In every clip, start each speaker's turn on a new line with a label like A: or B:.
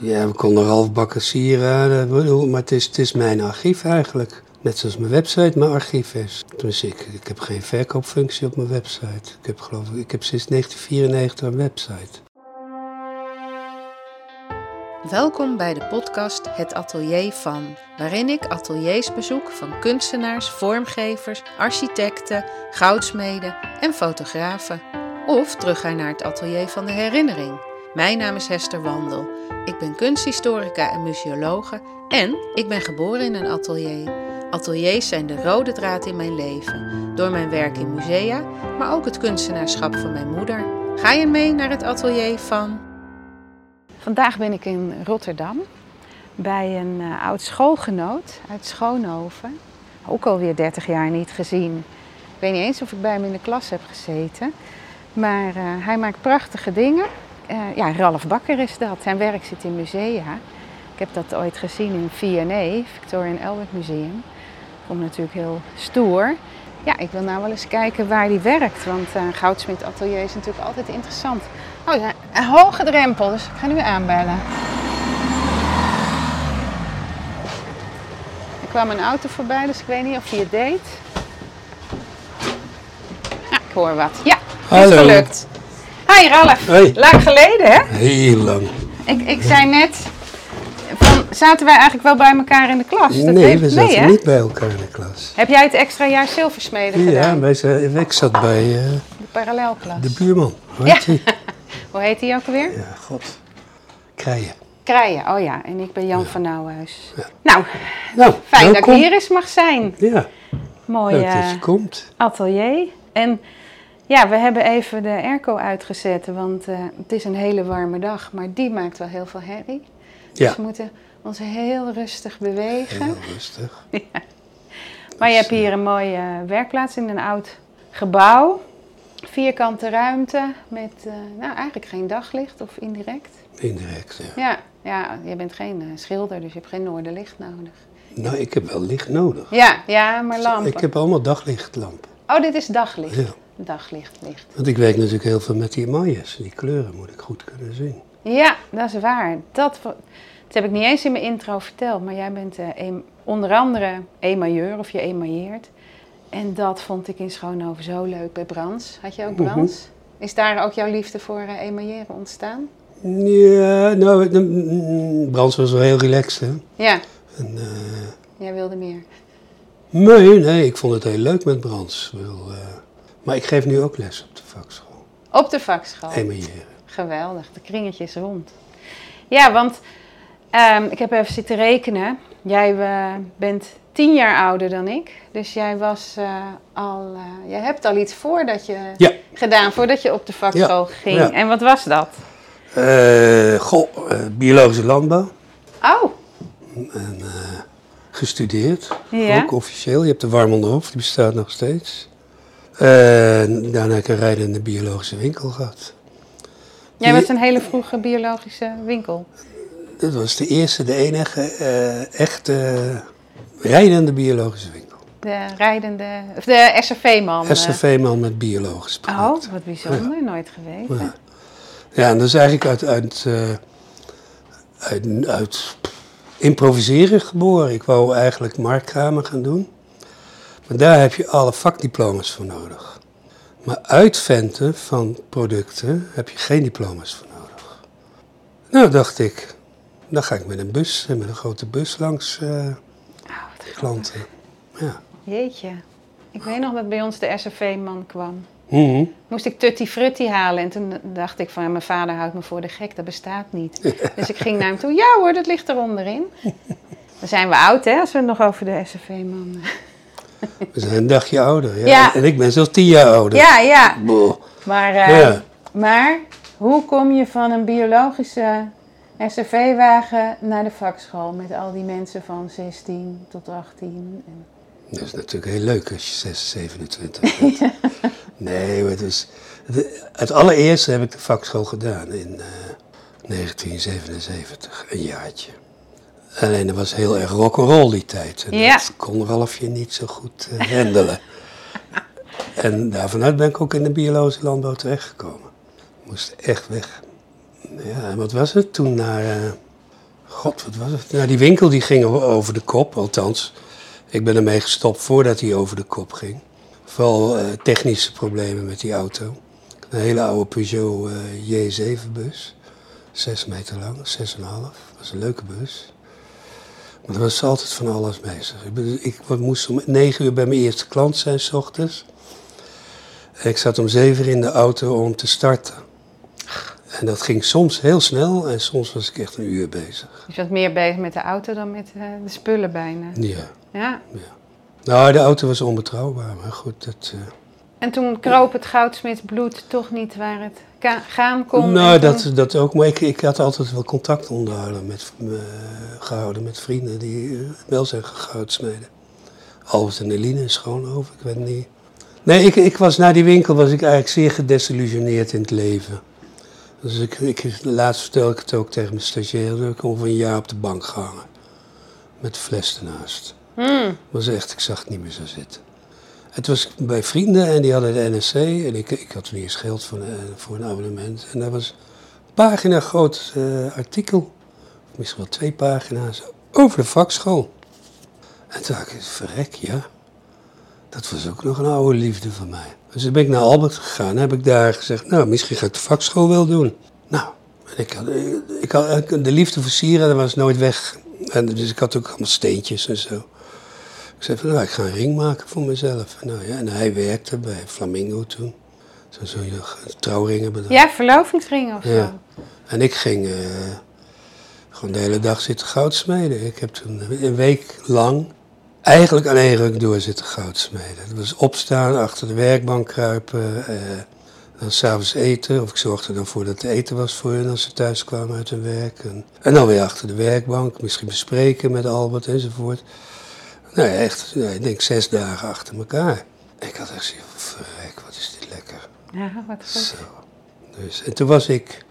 A: Ja, we konden halfbakken sieraden, eh, bedoel, maar het is, het is mijn archief eigenlijk. Net zoals mijn website mijn archief is. Dus ik, ik heb geen verkoopfunctie op mijn website. Ik heb, geloof ik, ik heb sinds 1994 een website.
B: Welkom bij de podcast Het Atelier van, waarin ik ateliers bezoek van kunstenaars, vormgevers, architecten, goudsmeden en fotografen. Of terugga naar het Atelier van de Herinnering. Mijn naam is Hester Wandel. Ik ben kunsthistorica en museologe en ik ben geboren in een atelier. Ateliers zijn de rode draad in mijn leven, door mijn werk in musea, maar ook het kunstenaarschap van mijn moeder. Ga je mee naar het atelier van? Vandaag ben ik in Rotterdam bij een eh, oud schoolgenoot uit Schoonhoven. Ook alweer 30 jaar niet gezien. Ik weet niet eens of ik bij hem in de klas heb gezeten. Maar eh, hij maakt prachtige dingen. Eh, ja, Ralf Bakker is dat. Zijn werk zit in musea. Ik heb dat ooit gezien in V&A, Victoria and Albert Museum. Vond ik natuurlijk heel stoer. Ja, ik wil nou wel eens kijken waar die werkt. Want eh Goudsmit Atelier is natuurlijk altijd interessant. Oh, ja, een hoge drempel, dus ik ga nu aanbellen. Er kwam een auto voorbij, dus ik weet niet of hij het deed. Ja, ik hoor wat. Ja, het is
A: Hallo.
B: gelukt. Hi Ralf.
A: Hey.
B: Lang geleden, hè?
A: Heel lang.
B: Ik, ik zei net, van, zaten wij eigenlijk wel bij elkaar in de klas? Dus Dat
A: nee,
B: heeft-
A: we zaten
B: hè?
A: niet bij elkaar in de klas.
B: Heb jij het extra jaar zilversmeden
A: Ja,
B: gedaan?
A: wij zijn, ik zat bij eh,
B: De parallelklas.
A: de buurman. Hoe heet
B: Ja.
A: die?
B: Hoe heet die ook alweer?
A: Ja, god. Krijen.
B: Krijen, oh ja. En ik ben Jan van Nouwenhuis. Nou,
A: Nou,
B: fijn dat
A: welkom.
B: ik hier eens mag zijn.
A: Ja,
B: Mooi
A: leuk dat
B: eh,
A: je komt.
B: atelier. En ja, we hebben even de airco uitgezet, want eh, het is een hele warme dag. Maar die maakt wel heel veel herrie. Dus
A: Ja,
B: we moeten ons heel rustig bewegen.
A: heel rustig.
B: Maar je hebt hier een mooie eh, werkplaats in een oud gebouw. Vierkante ruimte met eh, nou, eigenlijk geen daglicht of indirect.
A: Indirect, ja.
B: Ja, ja je bent geen eh, schilder, dus je hebt geen noorderlicht nodig.
A: Nou, ik heb wel licht nodig.
B: Ja, ja maar lampen.
A: Ik heb allemaal daglichtlampen.
B: Oh, dit is daglicht.
A: Ja.
B: Daglicht, licht.
A: Want ik werk natuurlijk heel veel met die maaiers. Die kleuren moet ik goed kunnen zien.
B: Ja, dat is waar. Dat, vo- dat heb ik niet eens in mijn intro verteld. Maar jij bent eh, een- onder andere emailleur of je emailleert. En dat vond ik in Schoonhoven zo leuk bij Brands. Had je ook
A: Mhm.
B: Brands? Is daar ook jouw liefde voor eh, emailleren ontstaan?
A: Ja, nou, de- mm, Brans was wel heel relaxed, hè.
B: Ja,
A: En, eh,
B: jij wilde meer.
A: nee, nee, ik vond het heel leuk met Brans. Ik bedoel, eh, maar ik geef nu ook les op de vakschool.
B: Op de vakschool.
A: Emailleren.
B: Geweldig, de kringetje is rond. Ja, want ehm, ik heb even zitten rekenen. Jij eh, bent tien jaar ouder dan ik. Dus jij was eh, al. eh, jij hebt al iets voordat je
A: Ja.
B: gedaan, voordat je op de vakschool ging.
A: ja.
B: En wat was dat?
A: Eh, goh, eh, biologische landbouw.
B: Oh,
A: En, eh, gestudeerd.
B: Ja.
A: Ook officieel. Je hebt de Warm Onderhof, die bestaat nog steeds. En daarna heb ik een rijdende biologische winkel gehad.
B: jij
A: Die-
B: was een hele vroege biologische winkel.
A: Dat was de eerste, de enige eh, echte rijdende biologische winkel.
B: De rijdende. Of de SRV-man. eh.
A: SCV-man met biologisch
B: Oh,
A: product.
B: wat bijzonder, nooit geweten.
A: Ja. Ja, en dat is eigenlijk uit, uit, eh, uit, uit improviseren geboren. Ik wou eigenlijk marktkramen gaan doen. Maar daar heb je alle vakdiploma's voor nodig. Maar uitventen van producten heb je geen diploma's voor nodig. Nou, dacht ik, dan ga ik met een bus, met een grote bus langs eh,
B: Oh, wat grappig.
A: klanten. Ja.
B: Jeetje. Ik weet nog dat bij ons de SRV-man kwam.
A: Mhm.
B: moest ik Tutti Frutti halen. En toen dacht ik van, ja, mijn vader houdt me voor de gek, dat bestaat niet. Dus ik ging naar hem toe, ja hoor, dat ligt er onderin. Dan zijn we oud, hè, als we het nog over de SCV-man...
A: We zijn een dagje ouder. Ja.
B: Ja.
A: En ik ben zelfs tien jaar ouder.
B: Ja, ja.
A: Boah.
B: Maar, eh,
A: Ja.
B: maar hoe kom je van een biologische SCV-wagen naar de vakschool... met al die mensen van 16 tot 18? En-
A: Dat is natuurlijk heel leuk als je 6, 27 bent. Nee, maar het is... het- Het allereerste heb ik de vakschool gedaan in eh, 1977, een jaartje. Alleen dat was heel erg rock'n'roll die tijd. En
B: Ja.
A: dat kon Ralfje niet zo goed eh, handelen. en daarvanuit ben ik ook in de biologische landbouw terechtgekomen. Moest echt weg. Ja, en wat was het toen? Naar eh, god, wat was het? Nou, die winkel die ging o- over de kop, althans. Ik ben ermee gestopt voordat hij over de kop ging. Vooral eh, technische problemen met die auto. Een hele oude Peugeot eh, J7-bus. Zes meter lang, zes en een half. was een leuke bus. Maar er was altijd van alles bezig. Ik, bedoel, ik wa- moest om negen uur bij mijn eerste klant zijn, s ochtends. En ik zat om zeven uur in de auto om te starten. En dat ging soms heel snel en soms was ik echt een uur bezig.
B: Dus je was meer bezig met de auto dan met eh, de spullen bijna.
A: Ja.
B: Ja.
A: Nou, de auto was onbetrouwbaar, maar goed, dat... eh,
B: En toen kroop het goudsmitsbloed toch niet waar het ka- gaan kon.
A: Nou,
B: en toen-
A: dat, dat ook. Maar ik, ik had altijd wel contact onderhouden met, eh, gehouden met vrienden die eh, wel zijn gegoudsmeden. Albert en Eline in Schoonhoven, ik weet niet. Nee, ik, ik was na die winkel was ik eigenlijk zeer gedesillusioneerd in het leven. Dus ik, ik, laatst vertel ik het ook tegen mijn stagiair. dat Ik over een jaar op de bank gehangen. Met de fles ernaast.
B: Hmm.
A: was echt, ik zag het niet meer zo zitten. Het was bij vrienden en die hadden de NSC en ik, ik had toen eerst geld voor, een- voor een abonnement. En daar was een pagina groot eh, artikel, misschien wel twee pagina's, over de vakschool. En toen dacht ik, verrek, ja. Dat was ook nog een oude liefde van mij. Dus toen ben ik naar Albert gegaan en heb ik daar gezegd, nou, misschien ga ik de vakschool wel doen. Nou, en ik had, ik had, de liefde voor sieraden was nooit weg. En dus ik had ook allemaal steentjes en zo. Ik zei van, nou, ik ga een ring maken voor mezelf. En, nou, ja, en hij werkte bij Flamingo toen. Zo'n zo trouwringen bedacht.
B: Ja, verlovingsringen of
A: Ja.
B: zo.
A: En ik ging eh, gewoon de hele dag zitten goudsmeden. Ik heb toen een week lang eigenlijk aan één ruk door zitten goudsmeden. Het was opstaan, achter de werkbank kruipen, eh dan s'avonds eten. Of ik zorgde dan voor dat er eten was voor hun als ze thuis kwamen uit hun werk. En, en dan weer achter de werkbank, misschien bespreken met Albert enzovoort. Nou ja, echt, ja, ik denk zes dagen achter elkaar. Ik had echt zoiets van, verrek, wat is dit lekker.
B: Ja, wat goed.
A: Zo. Dus, en toen was ik,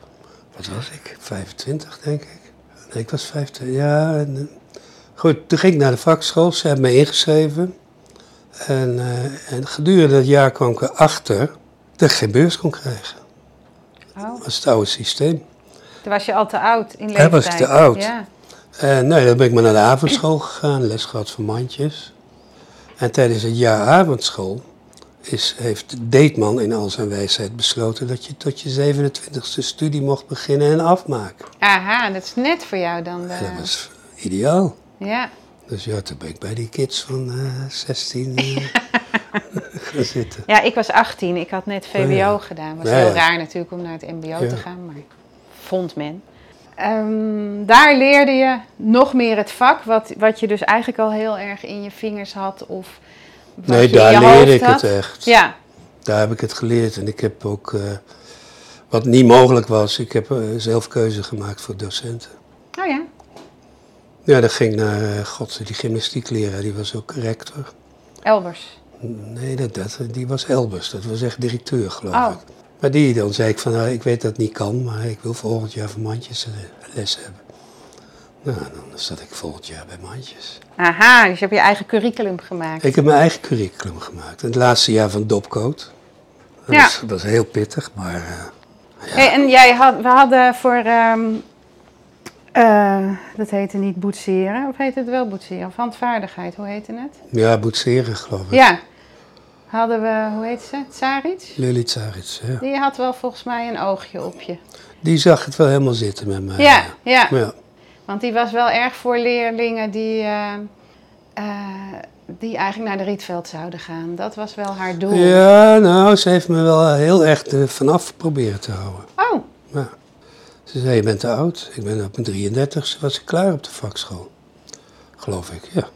A: wat was ik? 25 denk ik. Nee, ik was 25, ja. en, eh, goed, toen ging ik naar de vakschool, ze hebben me ingeschreven. En, eh, en gedurende dat jaar kwam ik erachter dat ik geen beurs kon krijgen.
B: Oh.
A: Dat was het oude systeem.
B: Toen was je al te oud in
A: Hij
B: leeftijd.
A: was te oud.
B: Ja.
A: En nou, ja, dan ben ik maar naar de avondschool gegaan, les gehad van mandjes. En tijdens het jaar avondschool is, heeft Deetman in al zijn wijsheid besloten dat je tot je 27e studie mocht beginnen en afmaken.
B: Aha, dat is net voor jou dan. de-
A: En dat was ideaal.
B: Ja.
A: Dus ja, toen ben ik bij die kids van eh 16 eh, gaan zitten.
B: ja, ik was 18. Ik had net VWO
A: Oh, ja.
B: gedaan. Was
A: Ja,
B: heel
A: ja.
B: raar natuurlijk om naar het MBO te
A: Ja.
B: gaan, maar vond men. Ehm, daar leerde je nog meer het vak, wat, wat je dus eigenlijk al heel erg in je vingers had. Of wat je
A: Nee,
B: in je
A: daar
B: hoofd
A: leerde ik
B: had.
A: het echt.
B: Ja,
A: Daar heb ik het geleerd. En ik heb ook, eh, wat niet mogelijk was, ik heb eh, zelf keuze gemaakt voor docenten.
B: oh ja.
A: Ja, dan ging ik naar, eh, god, die gymnastiekleraar, die was ook rector.
B: Elbers.
A: Nee, dat, dat, die was Elbers, dat was echt directeur, geloof
B: Oh.
A: ik. Maar die, dan zei ik van, nou, ik weet dat het niet kan, maar ik wil volgend jaar van Mandjes eh, les hebben. Nou, dan zat ik volgend jaar bij Mandjes.
B: Aha, dus je hebt je eigen curriculum gemaakt.
A: Ik heb mijn eigen curriculum gemaakt. Het laatste jaar van Dopcoat. Dat,
B: Ja.
A: was, dat was heel pittig, maar... eh,
B: Hey, en jij had, we hadden voor, ehm, eh, dat heette niet boetseren, of heet het wel boetseren? Of handvaardigheid, hoe heette het?
A: ja, boetseren, geloof ik.
B: Ja, hadden we, hoe heet ze, Tsarits?
A: Lili Tsarits, ja.
B: Die had wel volgens mij een oogje op je.
A: Die zag het wel helemaal zitten met mij.
B: Ja, ja,
A: ja.
B: want die was wel erg voor leerlingen die, eh, eh, die eigenlijk naar de Rietveld zouden gaan. Dat was wel haar doel.
A: Ja, nou, ze heeft me wel heel erg er vanaf proberen te houden.
B: Oh,
A: Ja. Ze zei, je bent te oud. Ik ben op mijn 33 Ze was ik klaar op de vakschool. Geloof ik, ja.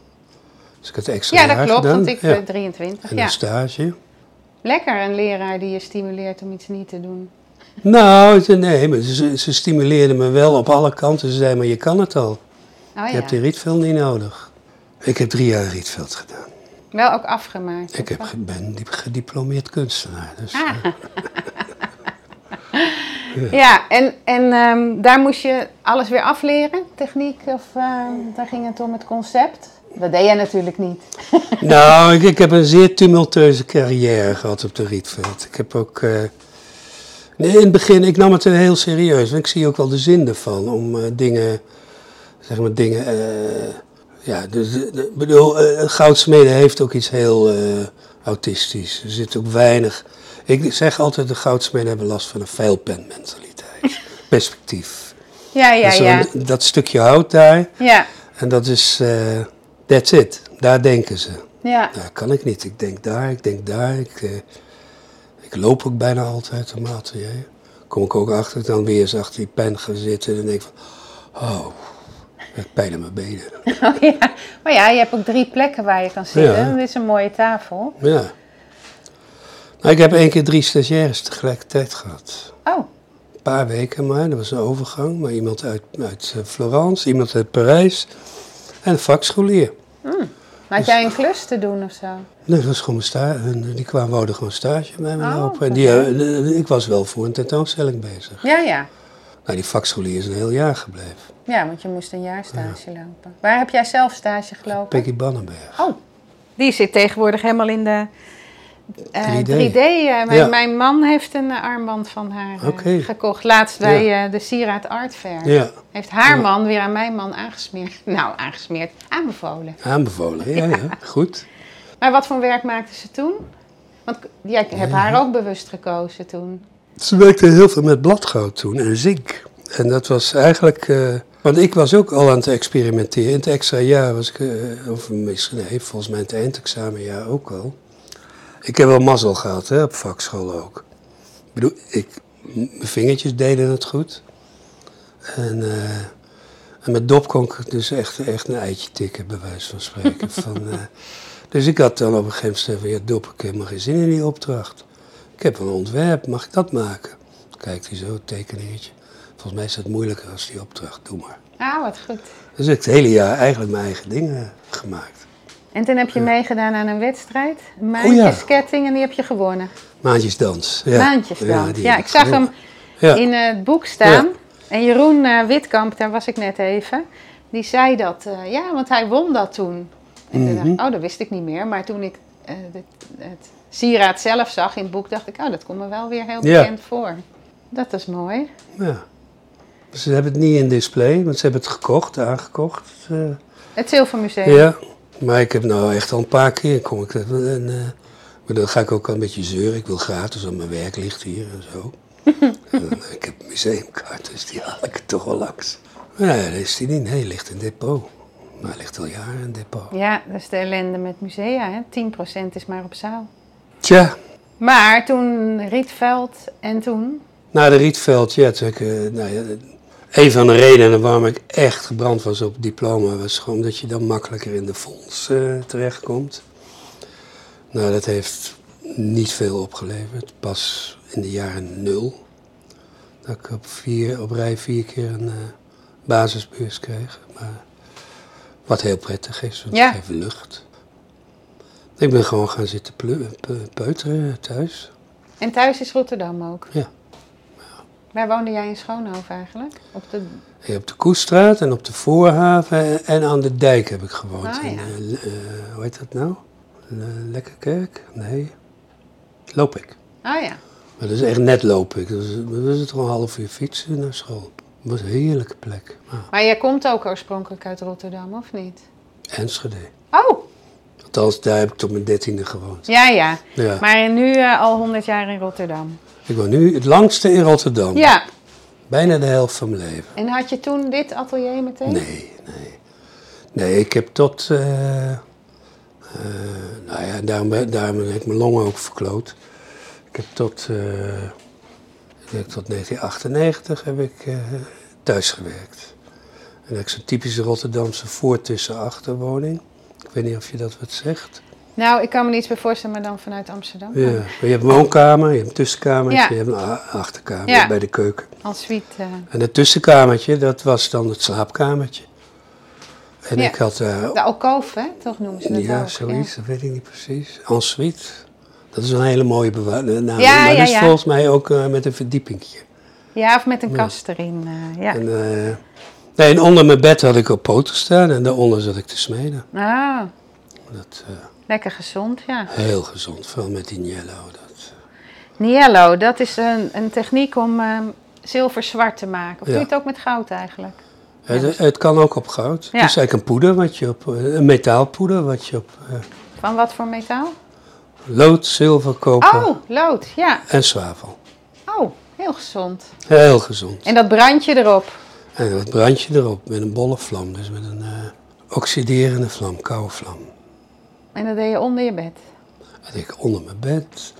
A: Dus ik had extra
B: ja,
A: jaar
B: dat klopt,
A: gedaan.
B: want ik
A: ja.
B: ben 23.
A: En
B: Ja.
A: een stage.
B: Lekker, een leraar die je stimuleert om iets niet te doen.
A: Nou, ze- nee, maar ze, ze stimuleerde me wel op alle kanten. Ze zei, maar je kan het al.
B: Oh
A: Je hebt
B: ja,
A: die Rietveld niet nodig. Ik heb drie jaar Rietveld gedaan.
B: wel ook afgemaakt.
A: Ik heb, ge- ben diep- gediplomeerd kunstenaar. Dus,
B: Ah. Ja, en, en ehm, daar moest je alles weer afleren, techniek, of ehm, daar ging het om het concept. Dat deed jij natuurlijk niet.
A: eh, Nou, ik, ik heb een zeer tumultueuze carrière gehad op de Rietveld. Ik heb ook... eh, nee, in het begin, ik nam het heel serieus. Want ik zie ook wel de zin ervan om eh, dingen zeg maar dingen. eh, ja, dus, eh, de- bedoel, eh, een goudsmede heeft ook iets heel eh, autistisch. Er zit ook weinig. Ik zeg altijd: de goudsmeden hebben last van een veilpenmentaliteit. Perspectief.
B: Ja, ja,
A: Dus
B: ja.
A: dan- dat stukje hout daar,
B: Ja,
A: en dat is. eh that's it. Daar denken ze.
B: ja.
A: Nou, kan ik niet. Ik denk daar, ik denk daar. Ik, eh, ik loop ook bijna altijd een atelier. Kom ik ook achter, dan weer eens achter die pen gaan zitten en denk van... Oh, ik heb pijn aan mijn benen.
B: Oh, ja. Maar ja, je hebt ook drie plekken waar je kan zitten.
A: Ja.
B: Dit is een mooie tafel.
A: Ja. Nou, ik heb één keer drie stagiaires tegelijkertijd gehad.
B: Oh,
A: Een paar weken maar, dat was een overgang. Maar iemand uit, uit eh, Florence, iemand uit Parijs en een vakscholier. Dus-
B: maar had jij een klus te doen of zo?
A: Nee, dat was gewoon mijn sta- hun- die kwamen wouden gewoon stage bij me
B: Oh,
A: lopen. En die, eh, ik was wel voor een tentoonstelling bezig.
B: Ja, ja.
A: Nou, die vakscholier is een heel jaar gebleven.
B: Ja, want je moest een jaar stage lopen. Waar heb jij zelf stage gelopen?
A: Peggy Bannenberg.
B: Oh, die zit tegenwoordig helemaal in de eh,
A: 3D.
B: 3D. eh, mijn,
A: Ja.
B: mijn man heeft een eh, armband van haar eh,
A: Oké.
B: gekocht. Laatst bij eh, de Sieraad Art Fair.
A: Ja,
B: Heeft haar man weer aan mijn man aangesmeerd. Nou, aangesmeerd. Aanbevolen.
A: aanbevolen. Ja, ja. Goed.
B: Maar wat voor werk maakte ze toen? Want k- jij hebt haar ook bewust gekozen toen.
A: Ze werkte heel veel met bladgoud toen en zink. En dat was eigenlijk... eh, want ik was ook al aan het experimenteren. In het extra jaar was ik... eh, of misschien, nee, volgens mij in het eindexamenjaar ook al. Ik heb wel mazzel gehad, hè, op vakschool ook. Ik bedoel, ik, m- mijn vingertjes deden het goed. En, eh, en met dop kon ik dus echt, echt een eitje tikken, bij wijze van spreken. van, eh, dus ik had dan op een gegeven moment gezegd van, ja, dop, ik heb maar geen zin in die opdracht. Ik heb een ontwerp, mag ik dat maken? Kijkt hij zo, tekeningetje. Volgens mij is dat moeilijker als die opdracht, doe maar.
B: Ah, wat goed.
A: Dus ik heb het hele jaar eigenlijk mijn eigen dingen gemaakt.
B: En toen heb je meegedaan aan een wedstrijd.
A: Oh
B: Maandjesketting en die heb je gewonnen.
A: Maandjesdans. Ja.
B: Maandjesdans.
A: die
B: Ja,
A: heb
B: ik zag hem
A: gewonnen. Ja.
B: in eh, het boek staan. En Jeroen eh, Witkamp, daar was ik net even, die zei dat. eh, ja, want hij won dat toen. En toen dacht
A: Mhm.
B: ik, oh, dat wist ik niet meer. Maar toen ik eh, het, het sieraad zelf zag in het boek, dacht ik, oh, dat komt me wel weer heel
A: Ja.
B: bekend voor. Dat is mooi.
A: Ja. Ze hebben het niet in display, want ze hebben het gekocht, aangekocht. eh.
B: Het Zilvermuseum.
A: ja. Maar ik heb nou echt al een paar keer kom ik. dat- En, eh, maar dan ga ik ook al een beetje zeuren. Ik wil gratis, want mijn werk ligt hier en zo. en, dan, ik heb een museumkaart, dus die haal ik er toch wel langs. Maar ja, daar is die niet. Nee, die ligt in depot. Maar hij ligt al jaren in depot.
B: Ja, dat is de ellende met musea. Hè? 10% is maar op zaal.
A: Tja,
B: Maar toen Rietveld en toen...
A: Na de Rietveld, ja, toen ik, eh, nou ja, een van de redenen waarom ik echt gebrand was op diploma was gewoon dat je dan makkelijker in de fonds eh, terechtkomt. Nou, dat heeft niet veel opgeleverd. Pas in de jaren nul dat ik op, vier, op rij vier keer een eh, basisbeurs kreeg. Maar, wat heel prettig is, want
B: Ja.
A: het geeft lucht. Ik ben gewoon gaan zitten pleu- pe- peuteren thuis.
B: En thuis is Rotterdam ook.
A: Ja.
B: Waar woonde jij in Schoonhoven eigenlijk? Op de...
A: Ja, Eh, op de Koestraat en op de Voorhaven en aan de dijk heb ik gewoond.
B: Ah, ja.
A: In, eh, Le- eh, hoe heet dat nou? Le- Lekkerkerk? Nee. Loop ik.
B: Ah ja.
A: Maar dat is echt net loop ik. Dat is, dat is toch een half uur fietsen naar school. Dat was een heerlijke plek. Ah,
B: Maar jij komt ook oorspronkelijk uit Rotterdam, of niet?
A: Enschede.
B: Oh,
A: Althans, daar heb ik tot mijn dertiende gewoond. Nou
B: ja, ja.
A: Ja.
B: Maar nu eh, al 100 jaar in Rotterdam.
A: Ik woon nu het langste in Rotterdam.
B: Ja.
A: Bijna de helft van mijn leven.
B: En had je toen dit atelier meteen?
A: Nee, nee. Nee, ik heb tot. eh, eh, nou ja, daarom, ben- daarom heb ik mijn longen ook verkloot. Ik heb tot. eh, ik denk tot 1998 heb ik eh, thuis gewerkt. En dat is een typische Rotterdamse voor-tussen-achterwoning. Ik weet niet of je dat wat zegt.
B: Nou, ik kan me niets bij voorstellen, maar dan vanuit Amsterdam.
A: Ja. Maar je hebt een woonkamer, je hebt een tussenkamer,
B: Ja.
A: je hebt een a- achterkamer
B: Ja.
A: bij de keuken.
B: Als suite. eh,
A: En het tussenkamertje, dat was dan het slaapkamertje. En
B: Ja.
A: ik had daar
B: de alcove, hè? toch noemen ze dat
A: Ja,
B: ook.
A: zoiets, dat weet ik niet precies. En suite, dat is een hele mooie bewa- eh, naam.
B: Ja,
A: maar
B: ja,
A: dat is
B: ja.
A: volgens mij ook eh, met een verdiepingje.
B: Ja, of met een kast erin. eh, ja.
A: En, eh, nee, en onder mijn bed had ik op poten staan en daaronder zat ik te smeden.
B: Ah,
A: Dat, eh,
B: lekker gezond, ja.
A: heel gezond, veel met die yellow. Dat,
B: Niello, dat is een, een techniek om ehm, zilver zwart te maken. Of
A: Ja.
B: doe je het ook met goud eigenlijk?
A: eh, Het, het kan ook op goud. Het is
B: Ja.
A: eigenlijk een poeder, wat je op, eh, een metaalpoeder, wat je op eh,
B: Van wat voor metaal?
A: lood, zilver, koper
B: Oh, lood. Ja.
A: en zwavel.
B: Oh, heel gezond.
A: Heel gezond.
B: En dat brandje erop.
A: En wat brand je erop? Met een bolle vlam, dus met een eh, oxiderende vlam, koude vlam.
B: En dat deed je onder je bed.
A: Dat ik onder mijn bed.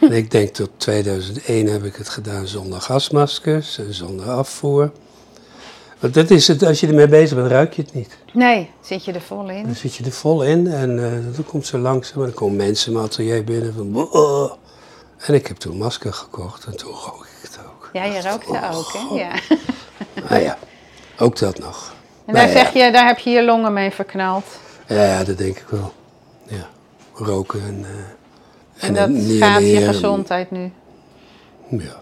A: en ik denk tot 2001 heb ik het gedaan zonder gasmaskers en zonder afvoer. Want dat is het, als je ermee bezig bent, ruik je het niet.
B: Nee, zit je er vol in.
A: Dan zit je er vol in en eh dan komt ze langzaam. En dan komen mensen mijn atelier binnen van... "Wow." En ik heb toen masker gekocht en toen rook ik het ook.
B: Ja, je rookte
A: Oh,
B: ook, hè? Ja.
A: Nou ja, ook dat nog.
B: En daar,
A: Nou ja.
B: zeg je, daar heb je je longen mee verknald.
A: Ja, ja, dat denk ik wel. Ja, roken en... eh,
B: En
A: het
B: dat
A: neerleggen.
B: gaat je gezondheid nu.
A: Ja.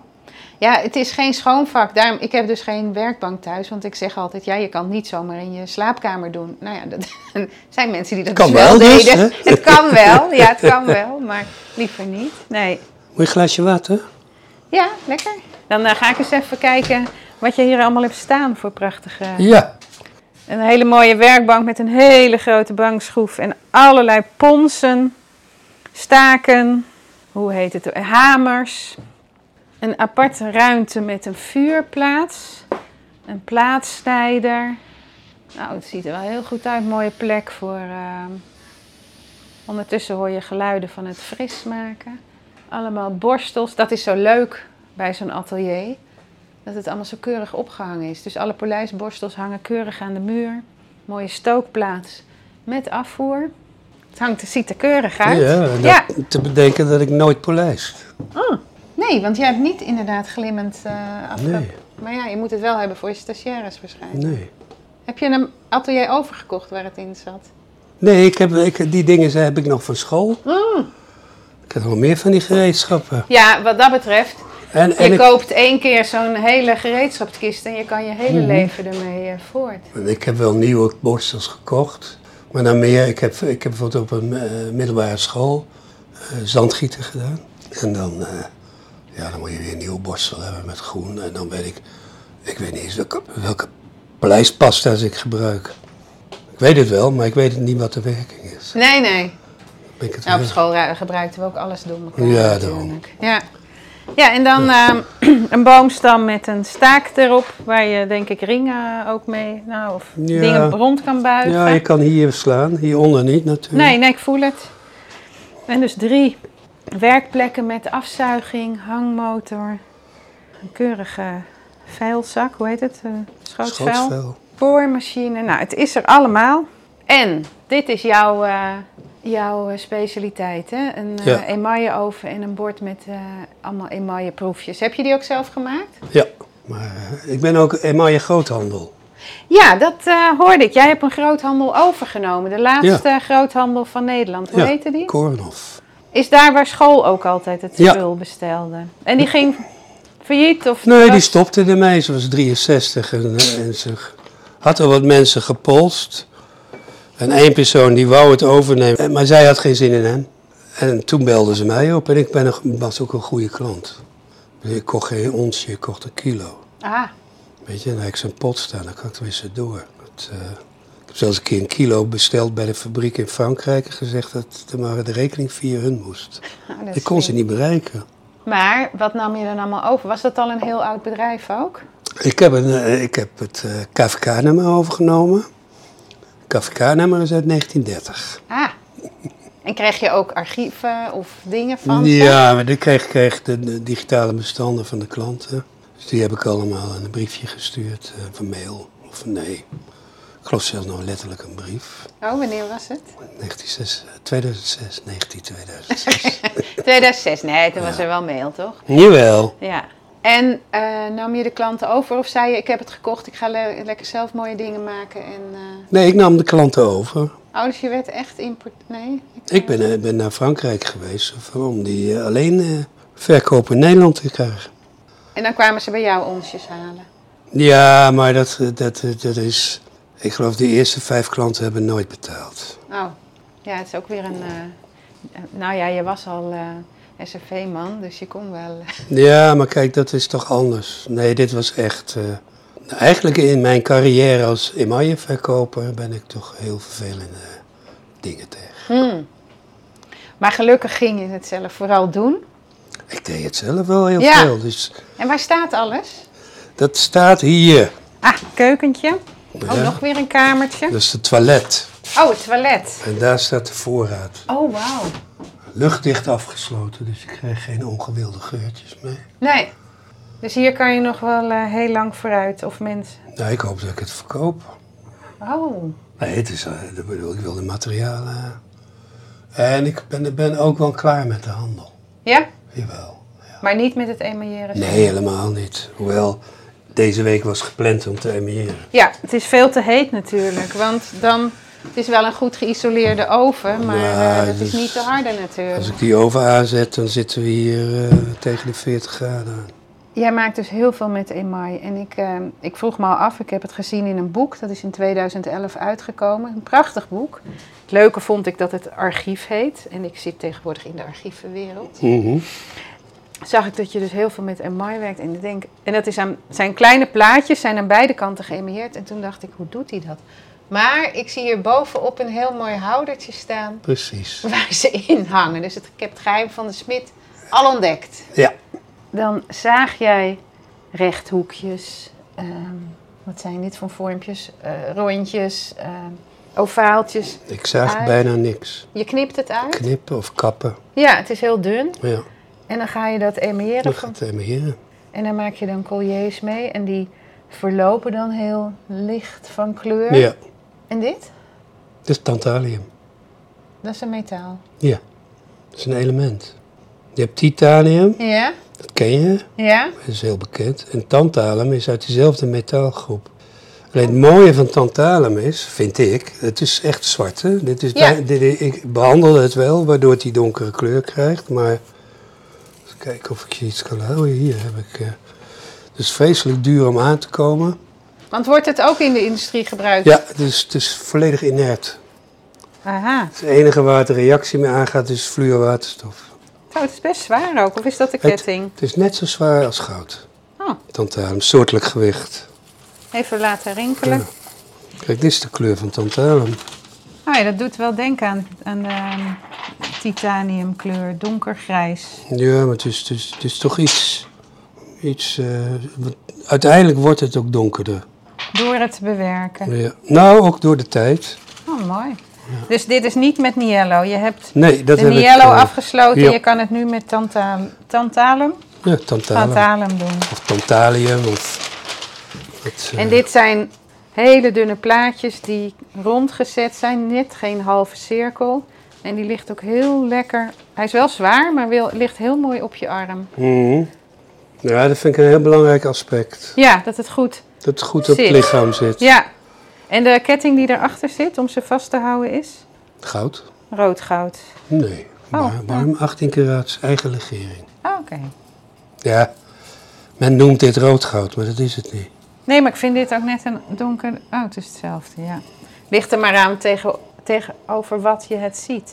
B: Ja, het is geen schoonvak. Daarom, ik heb dus geen werkbank thuis. Want ik zeg altijd, ja, je kan het niet zomaar in je slaapkamer doen. Nou ja, dat er zijn mensen die dat
A: Kan
B: dus
A: wel
B: wel,
A: dus,
B: deden.
A: hè?
B: het kan wel, ja, het kan wel. Maar liever niet, nee.
A: Moet je een glaasje water?
B: Ja, lekker. Dan eh, ga ik eens even kijken wat je hier allemaal hebt staan voor prachtige...
A: Ja.
B: Een hele mooie werkbank met een hele grote bankschroef en allerlei ponsen, staken, hoe heet het, hamers. Een aparte ruimte met een vuurplaats, een plaatsnijder. Nou, het ziet er wel heel goed uit, mooie plek voor... ehm, Ondertussen hoor je geluiden van het fris maken. Allemaal borstels, dat is zo leuk bij zo'n atelier dat het allemaal zo keurig opgehangen is. Dus alle polijsborstels hangen keurig aan de muur. Mooie stookplaats met afvoer. Het hangt, het ziet er keurig uit.
A: Ja, en dat-
B: Ja.
A: te bedenken dat ik nooit polijst.
B: Oh. Nee, want jij hebt niet inderdaad glimmend eh afge-
A: Nee.
B: Maar ja, je moet het wel hebben voor je stagiaires waarschijnlijk.
A: Nee.
B: Heb je een atelier overgekocht waar het in zat?
A: Nee, ik heb, ik, die dingen zijn- heb ik nog van school.
B: Mm.
A: Ik heb nog meer van die gereedschappen.
B: Ja, wat dat betreft.
A: En, en
B: Je
A: ik,
B: koopt één keer zo'n hele gereedschapskist en je kan je
A: Mhm.
B: hele leven ermee eh, voort.
A: ik heb wel nieuwe borstels gekocht. Maar dan meer, ik heb, ik heb bijvoorbeeld op een eh, middelbare school eh, zandgieten gedaan. En dan, eh, ja, dan moet je weer een nieuwe borstel hebben met groen. En dan weet ik, ik weet niet eens welke, welke polijstpasta's ik gebruik. Ik weet het wel, maar ik weet niet wat de werking is.
B: Nee, nee.
A: Ben ik het
B: Nou, op
A: wel-
B: school ra- gebruikten we ook alles door elkaar
A: Ja,
B: natuurlijk.
A: daarom.
B: Ja. ja, en dan ehm, een boomstam met een staak erop, waar je denk ik ringen ook mee, nou, of
A: Ja.
B: dingen rond kan buigen.
A: Ja, je kan hier slaan, hieronder niet natuurlijk.
B: Nee, nee, ik voel het. En dus drie werkplekken met afzuiging, hangmotor, een keurige vuilzak, hoe heet het? Eh, schootvuil.
A: Schootsvel.
B: Boormachine, nou, het is er allemaal. En dit is jouw, eh, jouw eh, specialiteit, hè? Een eh
A: Ja.
B: emaille oven en een bord met eh, allemaal emaille proefjes. Heb je die ook zelf gemaakt?
A: Ja, maar eh, ik ben ook emaille groothandel.
B: Ja, dat eh, hoorde ik. Jij hebt een groothandel overgenomen. De laatste groothandel van Nederland. Hoe
A: Ja.
B: heette die?
A: Kornhof.
B: Is daar waar school ook altijd het
A: Ja.
B: spul bestelde? En die ging failliet? Of
A: Nee, die
B: was-
A: stopte ermee. Ze was 63 en, eh, en ze had al wat mensen gepolst. En één persoon die wou het overnemen, eh, maar zij had geen zin in hem. En toen belden ze mij op en ik ben een, was ook een goede klant. Dus ik kocht geen onsje, ik kocht een kilo.
B: Ah,
A: Weet je, en dan heb ik zo'n pot staan, dan kan ik er weer zo door. Het, eh, ik heb zelfs een keer een kilo besteld bij de fabriek in Frankrijk en gezegd dat de, maar de rekening via hun moest.
B: nou, dat
A: Ik kon
B: is
A: ze niet bereiken.
B: Maar wat nam je dan allemaal over? Was dat al een heel oud bedrijf ook?
A: Ik heb, een, eh, ik heb het eh, KVK-nummer overgenomen. KVK-nummer is uit 1930.
B: Ah. En kreeg je ook archieven of dingen van? ze?
A: Ja, maar ik kreeg, kreeg de, de digitale bestanden van de klanten. Dus die heb ik allemaal in een briefje gestuurd, eh, of een mail, of een nee. Ik geloof zelfs nog letterlijk een brief.
B: Oh, wanneer was het?
A: 1906, 2006, 19 2006.
B: 2006. Nee, toen was er wel mail, toch?
A: Jawel.
B: Ja. En eh, nam je de klanten over of zei je, ik heb het gekocht, ik ga le- lekker zelf mooie dingen maken? En, eh,
A: Nee, ik nam de klanten over.
B: Oh, dus je werd echt import... Nee?
A: Ik ben, eh, ben naar Frankrijk geweest om die eh, alleen eh verkoop in Nederland te krijgen.
B: En dan kwamen ze bij jou onsjes halen.
A: Ja, maar dat, eh, dat, dat is. Ik geloof de eerste vijf klanten hebben nooit betaald.
B: Oh, ja, het is ook weer een... eh, eh, nou ja, je was al eh SRV-man, dus je kon wel...
A: Ja, maar kijk, dat is toch anders. Nee, dit was echt. eh, Nou, eigenlijk in mijn carrière als emailleverkoper ben ik toch heel vervelende eh, dingen tegen.
B: Hmm. Maar gelukkig ging je het zelf vooral doen.
A: Ik deed het zelf wel heel
B: Ja.
A: veel, dus
B: En waar staat alles?
A: dat staat hier.
B: Ah, keukentje. Oh,
A: Ja.
B: nog weer een kamertje.
A: Dat is het toilet.
B: Oh, het toilet.
A: En daar staat de voorraad.
B: Oh, wauw.
A: Luchtdicht afgesloten, dus ik krijg geen ongewilde geurtjes mee.
B: Nee. Dus hier kan je nog wel eh, heel lang vooruit, of mensen.
A: Nou, ik hoop dat ik het verkoop.
B: Oh,
A: Nee, het is, eh, dat bedoel, ik wil de materialen. En ik ben, ben ook wel klaar met de handel.
B: ja?
A: Jawel.
B: Maar niet met het emailleren.
A: Nee, helemaal niet. Hoewel, deze week was gepland om te emigreren.
B: Ja, het is veel te heet natuurlijk, want dan... Het is wel een goed geïsoleerde oven, maar
A: Ja,
B: eh, dat is
A: dus-
B: niet te harde natuurlijk.
A: Als ik die oven aanzet, dan zitten we hier eh, tegen de 40 graden aan.
B: Jij maakt dus heel veel met email. En ik, eh, ik vroeg me al af, ik heb het gezien in een boek. Dat is in 2011 uitgekomen. Een prachtig boek. Het leuke vond ik dat het archief heet. En ik zit tegenwoordig in de archievenwereld. Zag ik dat je dus heel veel met email werkt. En, ik denk, en dat is aan, zijn kleine plaatjes zijn aan beide kanten geëmailleerd. En toen dacht ik, hoe doet hij dat? Maar ik zie hier bovenop een heel mooi houdertje staan
A: Precies.
B: waar ze in hangen. Dus het, ik heb het geheim van de smid al ontdekt.
A: Ja.
B: Dan zaag jij rechthoekjes. ehm, wat zijn dit voor vormpjes? Eh, rondjes, ehm, ovaaltjes.
A: Ik zaag
B: Uit.
A: bijna niks.
B: Je knipt het uit.
A: Knippen of kappen.
B: Ja, het is heel dun.
A: Ja,
B: En dan ga je dat
A: dan
B: emailleren.
A: gaat het emigreren.
B: En dan maak je dan colliers mee. En die verlopen dan heel licht van kleur.
A: Ja,
B: En dit?
A: dat is tantalium.
B: Dat is een metaal.
A: Ja, dat is een element. Je hebt titanium,
B: Ja?
A: dat ken je,
B: Ja?
A: dat is heel bekend. En tantalum is uit diezelfde metaalgroep. Alleen het mooie van tantalum is, vind ik, het is echt zwart. Hè? Dit is
B: Ja.
A: bij- dit, ik behandelde het wel, waardoor het die donkere kleur krijgt. Maar even kijken of ik je iets kan houden. Hier heb ik... eh het is vreselijk duur om aan te komen.
B: Want wordt het ook in de industrie gebruikt?
A: Ja, het is, het is volledig inert.
B: Aha.
A: Het enige waar het een reactie mee aangaat is fluorwaterstof.
B: Oh, het is best zwaar ook. Of is dat de
A: Het-
B: ketting?
A: Het is net zo zwaar als goud.
B: Oh,
A: Tantalum, soortelijk gewicht.
B: even laten rinkelen.
A: Kijk, dit is de kleur van tantalum.
B: Oh ja, dat doet wel denken aan, aan de titaniumkleur, donkergrijs.
A: Ja, maar het is, het is, het is toch iets... iets eh, wat- uiteindelijk wordt het ook donkerder.
B: Door het te bewerken.
A: Ja. Nou, ook door de tijd.
B: Oh, mooi. Dus dit is niet met Niello. Je hebt
A: Nee, dat
B: de
A: heb
B: Niello
A: ik... eh,
B: afgesloten.
A: ja.
B: Je kan het nu met tantalum, tantalum?
A: Ja, tantalum.
B: tantalum doen.
A: Of tantalium. Of, dat, eh,
B: En dit zijn hele dunne plaatjes die rondgezet zijn. Net geen halve cirkel. En die ligt ook heel lekker. Hij is wel zwaar, maar wil, ligt heel mooi op je arm.
A: mhm. Ja, dat vind ik een heel belangrijk aspect.
B: Ja, dat het goed
A: Dat het goed op het
B: Zit.
A: lichaam zit.
B: Ja, en de ketting die erachter zit om ze vast te houden is
A: Goud.
B: rood goud.
A: Nee,
B: Oh,
A: maar, warm 18 karaats eigen legering.
B: Ah, Oké.
A: Ja, men noemt dit rood goud, maar dat is het niet.
B: Nee, maar ik vind dit ook net een donker. Oh, het is hetzelfde, ja. Ligt er maar aan tegen, tegenover wat je het ziet.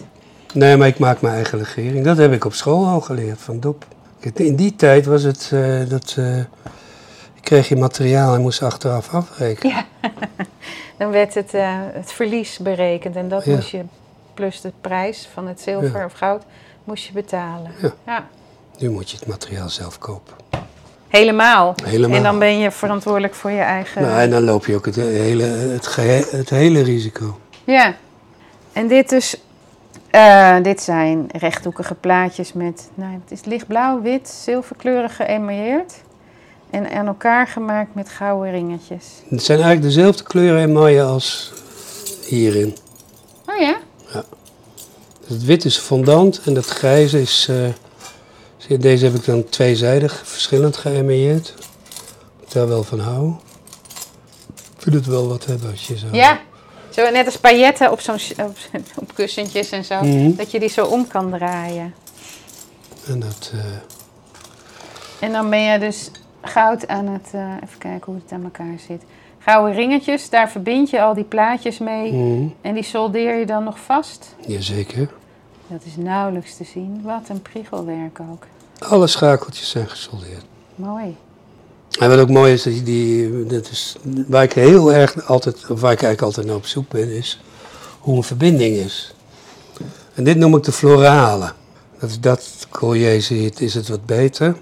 A: Nee, maar ik maak mijn eigen legering. Dat heb ik op school al geleerd van Dop. Kijk, In die tijd was het eh, dat eh, je kreeg je materiaal en moest achteraf afrekenen.
B: Ja. Dan werd het, eh, het verlies berekend en dat
A: Ja.
B: moest je, plus de prijs van het zilver
A: Ja.
B: of goud, moest je betalen.
A: Ja.
B: ja.
A: Nu moet je het materiaal zelf kopen.
B: Helemaal.
A: Helemaal.
B: En dan ben je verantwoordelijk voor je eigen.
A: Nou, en dan loop je ook het hele, het gehe- het hele risico.
B: Ja. En dit dus... eh, dit zijn rechthoekige plaatjes met... Nou, het is lichtblauw, wit, zilverkleurig geëmailleerd. En aan elkaar gemaakt met gouden ringetjes.
A: Het zijn eigenlijk dezelfde kleuren en mooie als hierin.
B: Oh ja?
A: Dus het wit is fondant en dat grijze is... eh, zie je, deze heb ik dan tweezijdig verschillend geëmailleerd. Ik daar wel van hou. Ik vind het wel wat hebben als je zo...
B: Ja. Zo net als pailletten op, zo'n, op, op kussentjes en zo.
A: Mhm.
B: Dat je die zo om kan draaien.
A: En dat... eh,
B: En dan ben je dus goud aan het... eh, even kijken hoe het aan elkaar zit. Gouden ringetjes, daar verbind je al die plaatjes mee.
A: mhm,
B: En die soldeer je dan nog vast.
A: jazeker.
B: Dat is nauwelijks te zien. Wat een priegelwerk ook.
A: Alle schakeltjes zijn gesoldeerd.
B: Mooi.
A: En wat ook mooi is, dat je die, dat is waar ik heel erg altijd, of waar ik eigenlijk altijd naar op zoek ben, is hoe een verbinding is. En dit noem ik de florale. Dat is dat collier ziet, is het wat beter.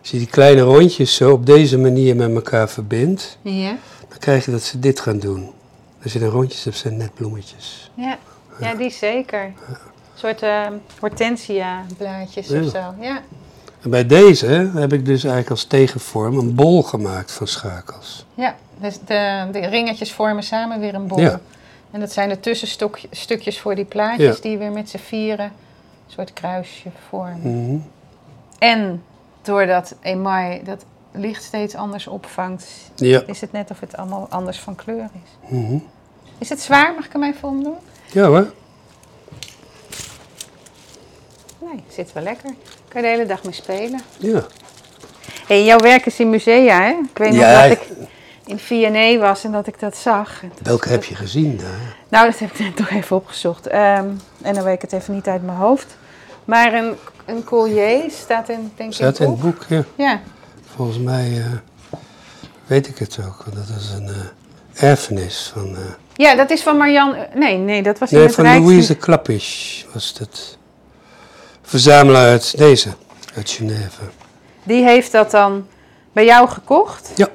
A: Als je die kleine rondjes zo op deze manier met elkaar verbindt,
B: Ja.
A: dan krijg je dat ze dit gaan doen. Als je dan rondjes hebt, zijn het net bloemetjes.
B: Ja, ja die zeker. Een soort eh, hortensia blaadjes
A: Ja.
B: of zo. Ja.
A: En bij deze heb ik dus eigenlijk als tegenvorm een bol gemaakt van schakels.
B: ja, dus de, de ringetjes vormen samen weer een bol.
A: Ja.
B: En dat zijn de tussenstukjes voor die plaatjes
A: Ja.
B: die weer met z'n vieren een soort kruisje vormen.
A: Mhm.
B: En doordat emaai dat licht steeds anders opvangt,
A: Ja.
B: is het net of het allemaal anders van kleur is.
A: Mhm.
B: Is het zwaar? Mag ik hem even omdoen?
A: Ja hoor.
B: Nee, zit wel lekker. Kan je de hele dag mee spelen.
A: Ja.
B: Hé, jouw werk is in musea, hè? Ik weet
A: Ja,
B: nog
A: ik-
B: dat ik in V&A was en dat ik dat zag. En toen-
A: Welke heb je gezien eh? daar?
B: Nou, dat heb ik net toch even opgezocht. Ehm, en dan weet ik het even niet uit mijn hoofd. Maar een, een collier staat in, denk ik,
A: Staat in het
B: boek.
A: boek, ja.
B: Ja,
A: Volgens mij eh, weet ik het ook, want dat is een eh, erfenis van, eh,
B: ja dat is van Marianne... Nee, nee, dat was in
A: nee,
B: het
A: van
B: Rijks...
A: Louise Klappisch was dat. Verzamelaar uit deze, uit Genève.
B: Die heeft dat dan bij jou gekocht
A: Ja,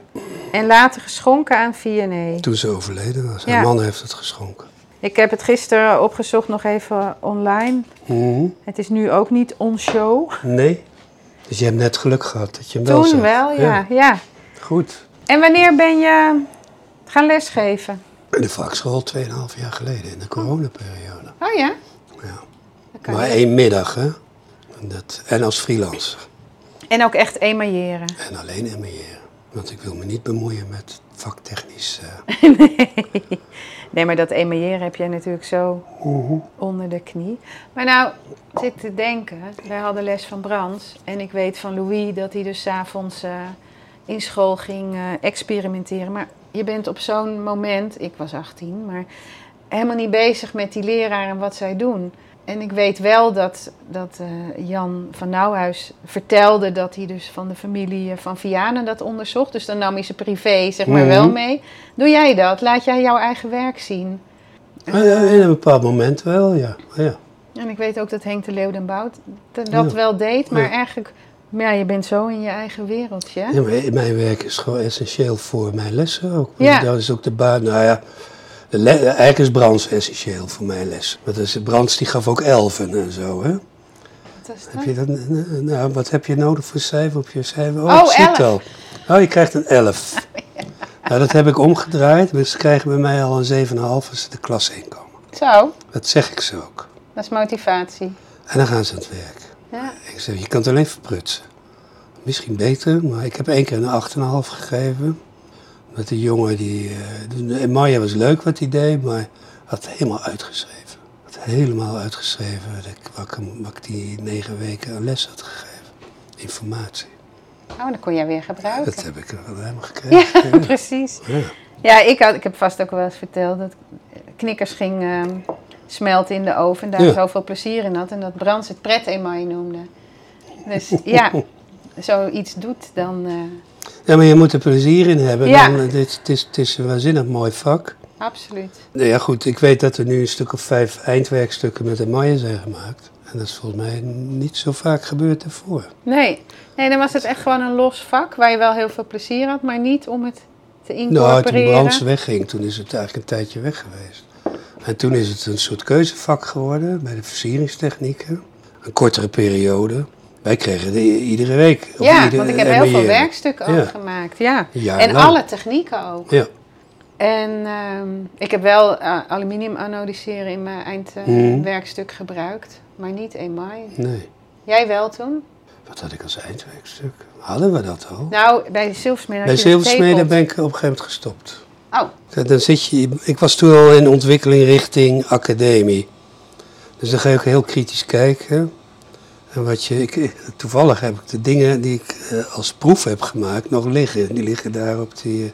B: en later geschonken aan V&A.
A: toen ze overleden was. Haar
B: Ja.
A: man heeft het geschonken.
B: Ik heb het gisteren opgezocht, nog even online.
A: Mhm.
B: Het is nu ook niet on-show.
A: Nee? Dus je hebt net geluk gehad dat je hem wel
B: Toen
A: zag.
B: wel, ja. ja.
A: Goed.
B: En wanneer ben je gaan lesgeven?
A: In de vakschool 2,5 jaar geleden, in de coronaperiode.
B: Oh ja?
A: Ja.
B: Oh. Dat kan
A: Maar
B: je.
A: één middag, hè? En, dat, en als freelancer.
B: En ook echt emailleren.
A: En alleen emailleren. Want ik wil me niet bemoeien met vaktechnisch. eh,
B: Nee, maar dat emailleren heb jij natuurlijk zo onder de knie. Maar nou, ik zit te denken. Wij hadden les van Brands. En ik weet van Louis dat hij dus 's avonds eh, in school ging eh, experimenteren. Maar je bent op zo'n moment, ik was 18, maar helemaal niet bezig met die leraar en wat zij doen. En ik weet wel dat, dat eh, Jan van Nauwhuis vertelde dat hij dus van de familie eh, van Vianen dat onderzocht. Dus dan nam hij ze privé, zeg maar, wel
A: Mhm.
B: mee. Doe jij dat? Laat jij jouw eigen werk zien?
A: ah, ja, in een bepaald moment wel, ja. ja.
B: En ik weet ook dat Henk de Leeuw den Bout dat
A: Ja.
B: wel deed, maar
A: Ja.
B: eigenlijk, ja, je bent zo in je eigen wereldje. hè?
A: Ja, maar mijn werk is gewoon essentieel voor mijn lessen ook.
B: Ja.
A: Dat is ook de baan. Nou ja, de le- eigenlijk is Brands essentieel voor mijn les. Want dat is- Brands die gaf ook elfen en zo, hè?
B: Wat is
A: Heb
B: dat?
A: je dat, nou, wat heb je nodig voor cijfer op je cijfer?
B: Oh,
A: Oh, ik zie het
B: elf.
A: al. Oh, je krijgt een 11. Nou, dat heb ik omgedraaid. Dus ze krijgen bij mij al een 7,5 als ze de klas in komen.
B: Zo,
A: Dat zeg ik ze ook.
B: dat is motivatie.
A: En dan gaan ze aan het werk.
B: Ja.
A: Ik zeg, je kan het alleen verprutsen. Misschien beter, maar ik heb één keer een 8,5 gegeven. Met de jongen die... eh Maya was leuk wat hij deed, maar had helemaal uitgeschreven. Had helemaal uitgeschreven dat ik, wat, ik, hem- wat ik die negen weken aan les had gegeven. Informatie.
B: Oh, dat kon jij weer gebruiken.
A: Dat heb ik wel helemaal
B: Ja,
A: gekregen. Ja.
B: precies.
A: Ja.
B: Ja, ik, had, ik heb vast ook wel eens verteld dat knikkers ging ehm, smelten in de oven en daar
A: Ja.
B: zoveel plezier in had. En dat Brands het pret eenmaal noemde. Dus ja, zoiets doet dan. eh,
A: Ja, maar je moet er plezier in hebben.
B: Ja.
A: Dan, eh, dit, het, is, het is een waanzinnig mooi vak.
B: absoluut.
A: Nou ja, goed, ik weet dat er nu een stuk of vijf eindwerkstukken met Maya zijn gemaakt. En dat is volgens mij niet zo vaak gebeurd daarvoor.
B: Nee. nee, dan was het echt gewoon een los vak waar je wel heel veel plezier had, maar niet om het te
A: Nou, toen
B: incorporeren.
A: Brands wegging, toen is het eigenlijk een tijdje weg geweest. En toen is het een soort keuzevak geworden bij de versieringstechnieken. Een kortere periode. Wij kregen die iedere week. of
B: ja,
A: ieder- E
B: want ik heb heel veel
A: emailleren.
B: werkstukken ook
A: Ja. nou.
B: gemaakt. Ja.
A: Een jaar
B: en
A: lang.
B: alle technieken ook.
A: Ja,
B: En ehm, ik heb wel eh, aluminium anodiseren in mijn eindwerkstuk
A: Mhm.
B: werkstuk gebruikt, maar niet email.
A: nee.
B: Jij wel toen?
A: Wat had ik als eindwerkstuk? Hadden we dat al?
B: Nou, bij de zilversmeden
A: bij
B: had je het
A: Zilversmeden
B: tepelt.
A: ben ik op een gegeven moment gestopt.
B: Oh,
A: Ja, Dan zit je, ik was toen al in ontwikkeling richting academie. Dus dan ga je ook heel kritisch kijken. En wat je, ik, toevallig heb ik de dingen die ik eh, als proef heb gemaakt nog liggen. Die liggen daar op die...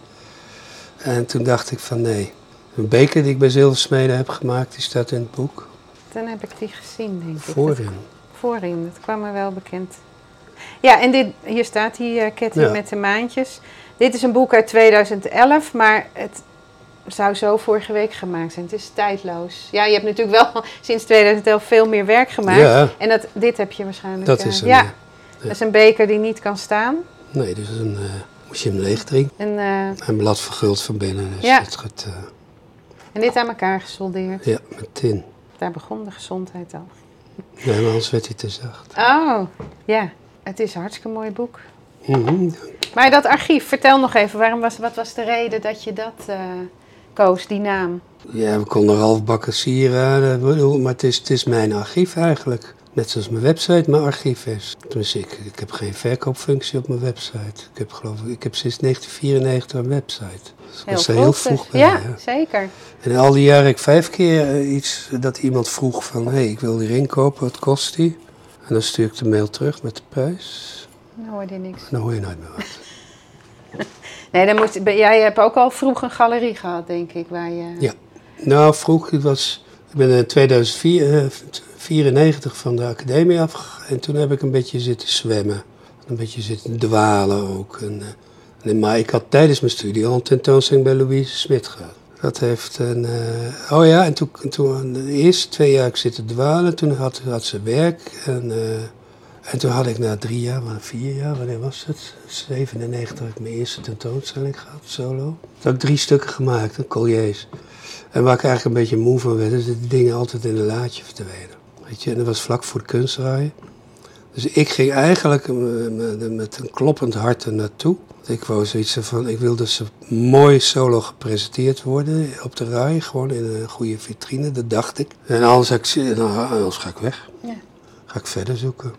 A: eh, en toen dacht ik van nee. Een beker die ik bij Zilversmeden heb gemaakt, die staat in het boek.
B: dan heb ik die gezien, denk ik.
A: Voorin.
B: Dat- voorin, dat kwam me wel bekend Ja, en dit, hier staat die eh, ketting
A: Ja.
B: met de maandjes. Dit is een boek uit 2011, maar het zou zo vorige week gemaakt zijn. Het is tijdloos. Ja, je hebt natuurlijk wel sinds 2011 veel meer werk gemaakt.
A: Ja.
B: En dat, dit heb je waarschijnlijk.
A: Dat
B: eh,
A: is een,
B: ja.
A: eh,
B: Dat is een beker die niet kan staan.
A: Nee, dus een, eh, moest je hem leeg drinken.
B: En, eh,
A: Een blad verguld van binnen. Dus
B: Ja.
A: dat gaat, eh,
B: en dit aan elkaar gesoldeerd.
A: ja, met tin.
B: Daar begon de gezondheid al.
A: Nee, maar anders werd hij te zacht.
B: Oh, ja. Het is een hartstikke mooi boek.
A: Mhm.
B: Maar dat archief, vertel nog even, waarom was, wat was de reden dat je dat eh, koos, die naam?
A: Ja, we konden halfbakken sieraden, ik eh, bedoel, maar het is, het is mijn archief eigenlijk. Net zoals mijn website mijn archief is. Dus ik, ik heb geen verkoopfunctie op mijn website. Ik heb, geloof ik, ik heb sinds 1994 een website. Dus ik was er heel
B: goed,
A: vroeg
B: dus.
A: bij.
B: Ja,
A: ja.
B: zeker.
A: En al die jaren heb ik vijf keer eh, iets dat iemand vroeg van... hé, hey, ik wil die ring kopen, wat kost die? En dan stuur ik de mail terug met de prijs.
B: Dan hoorde je niks.
A: En dan hoor je nooit meer wat.
B: Nee, dan moet, ben- jij hebt ook al vroeg een galerie gehad, denk ik, waar je...
A: Ja. Nou, vroeg, het was, ik ben in 1994 van de academie afgegaan. En toen heb ik een beetje zitten zwemmen. Een beetje zitten dwalen ook. En, eh, en- maar ik had tijdens mijn studie al een tentoonstelling bij Louise Smit gehad. Dat heeft een... eh, oh ja, en toen, toen eh, de eerste twee jaar heb ik zitten dwalen. Toen had, had ze werk. En, eh, en toen had ik na drie jaar, maar vier jaar, wanneer was het? 97 heb ik mijn eerste tentoonstelling gehad, solo. Toen had ik drie stukken gemaakt, hè, colliers. En waar ik eigenlijk een beetje moe van werd, is dat die dingen altijd in een laadje verdwenen. Weet je, en dat was vlak voor de kunstraaien. Dus ik ging eigenlijk eh, met- met een kloppend hart er naartoe. Ik wou zoiets van, ik wilde ze mooi solo gepresenteerd worden op de rij, gewoon in een goede vitrine, dat dacht ik. En anders, had ik, ze- dan- anders ga ik weg,
B: Ja.
A: ga ik verder zoeken.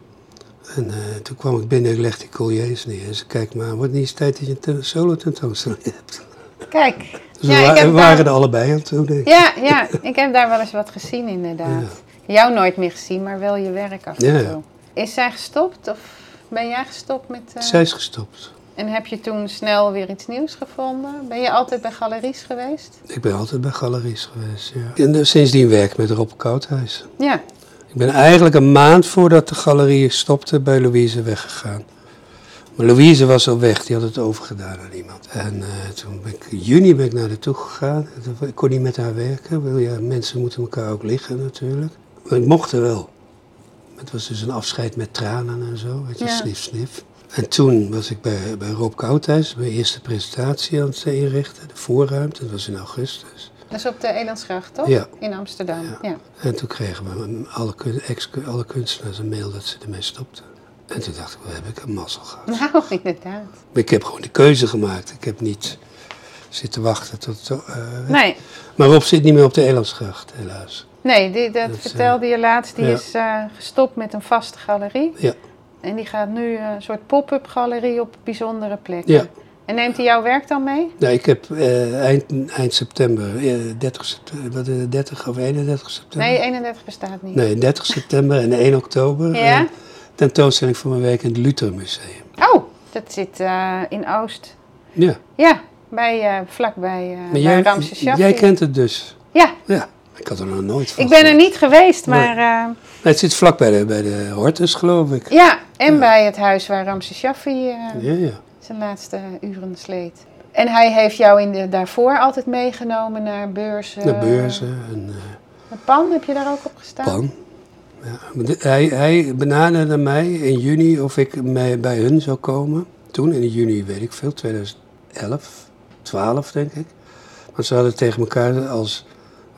A: En eh, toen kwam ik binnen, ik legde die colliers neer. En ze kijkt me aan, wordt niet eens tijd dat je een ten- solo tentoonstelling hebt?
B: Kijk.
A: Dus
B: ja,
A: we wa-
B: ik heb
A: waren
B: daar,
A: er allebei aan toe, denk ik.
B: ja, ja, ik heb daar wel eens wat gezien, inderdaad. Jou nooit meer gezien, maar wel je werk af en
A: Ja.
B: toe. Is zij gestopt of ben jij gestopt met... eh,
A: Zij is gestopt.
B: En heb je toen snel weer iets nieuws gevonden? Ben je altijd bij galeries geweest?
A: Ik ben altijd bij galeries geweest, ja. En eh, sindsdien werk ik met Rob Koudhuis.
B: Ja.
A: Ik ben eigenlijk een maand voordat de galerie stopte bij Louise weggegaan. Maar Louise was al weg, die had het overgedaan aan iemand. En eh, toen ben ik, in juni ben ik naar haar toe gegaan. Ik kon niet met haar werken. Ik bedoel, Ja, mensen moeten elkaar ook liggen natuurlijk. Maar ik mocht er wel. Het was dus een afscheid met tranen en zo, weet je,
B: Ja.
A: snif, snif. En toen was ik bij, bij Rob Koudhuis, mijn eerste presentatie aan het inrichten, de voorruimte, dat was in augustus.
B: Dat is op de Elandsgracht, toch?
A: Ja.
B: In Amsterdam. Ja.
A: En toen kregen we alle, kun- ex, alle kunstenaars een mail dat ze ermee stopten. En toen dacht ik, wat heb ik een mazzel gehad.
B: Nou, inderdaad.
A: Maar ik heb gewoon de keuze gemaakt. Ik heb niet zitten wachten tot... eh,
B: Nee,
A: Maar Rob zit niet meer op de Elandsgracht, helaas.
B: nee die, dat,
A: Dat, eh,
B: vertelde je laatst. Die
A: ja.
B: is eh, gestopt met een vaste galerie.
A: Ja,
B: En die gaat nu eh, een soort pop-up galerie op bijzondere plekken.
A: ja.
B: En neemt hij jouw werk dan mee?
A: Nou, ik heb eh, eind, eind september, eh, 30, september wat, eh, 30 of 31 september?
B: Nee, 31 bestaat niet.
A: Nee, 30 september en 1 oktober.
B: Ja?
A: eh, tentoonstelling van mijn werk in het Luther Museum.
B: Oh, dat zit eh, in Oost.
A: Ja,
B: Ja, bij, eh vlakbij eh
A: maar
B: bij
A: jij,
B: Ramses Shaffi.
A: jij kent het dus.
B: Ja,
A: Ja, ik had er nog nooit van
B: ik ben
A: gehoord.
B: er niet geweest,
A: Nee.
B: maar... eh,
A: Nee, Nou, het zit vlak bij de, bij de Hortus, geloof ik.
B: Ja, en bij het huis waar Ramses Shaffi eh,
A: Ja, ja.
B: zijn laatste uren sleet. En hij heeft jou in de, daarvoor altijd meegenomen naar beurzen.
A: Naar beurzen en eh,
B: Met Pan heb je daar ook op gestaan?
A: pan. Ja. maar de- Hij, hij benaderde mij in juni of ik mij bij hun zou komen. Toen, in juni, weet ik veel, 2011, 12 denk ik. Want ze hadden tegen elkaar, als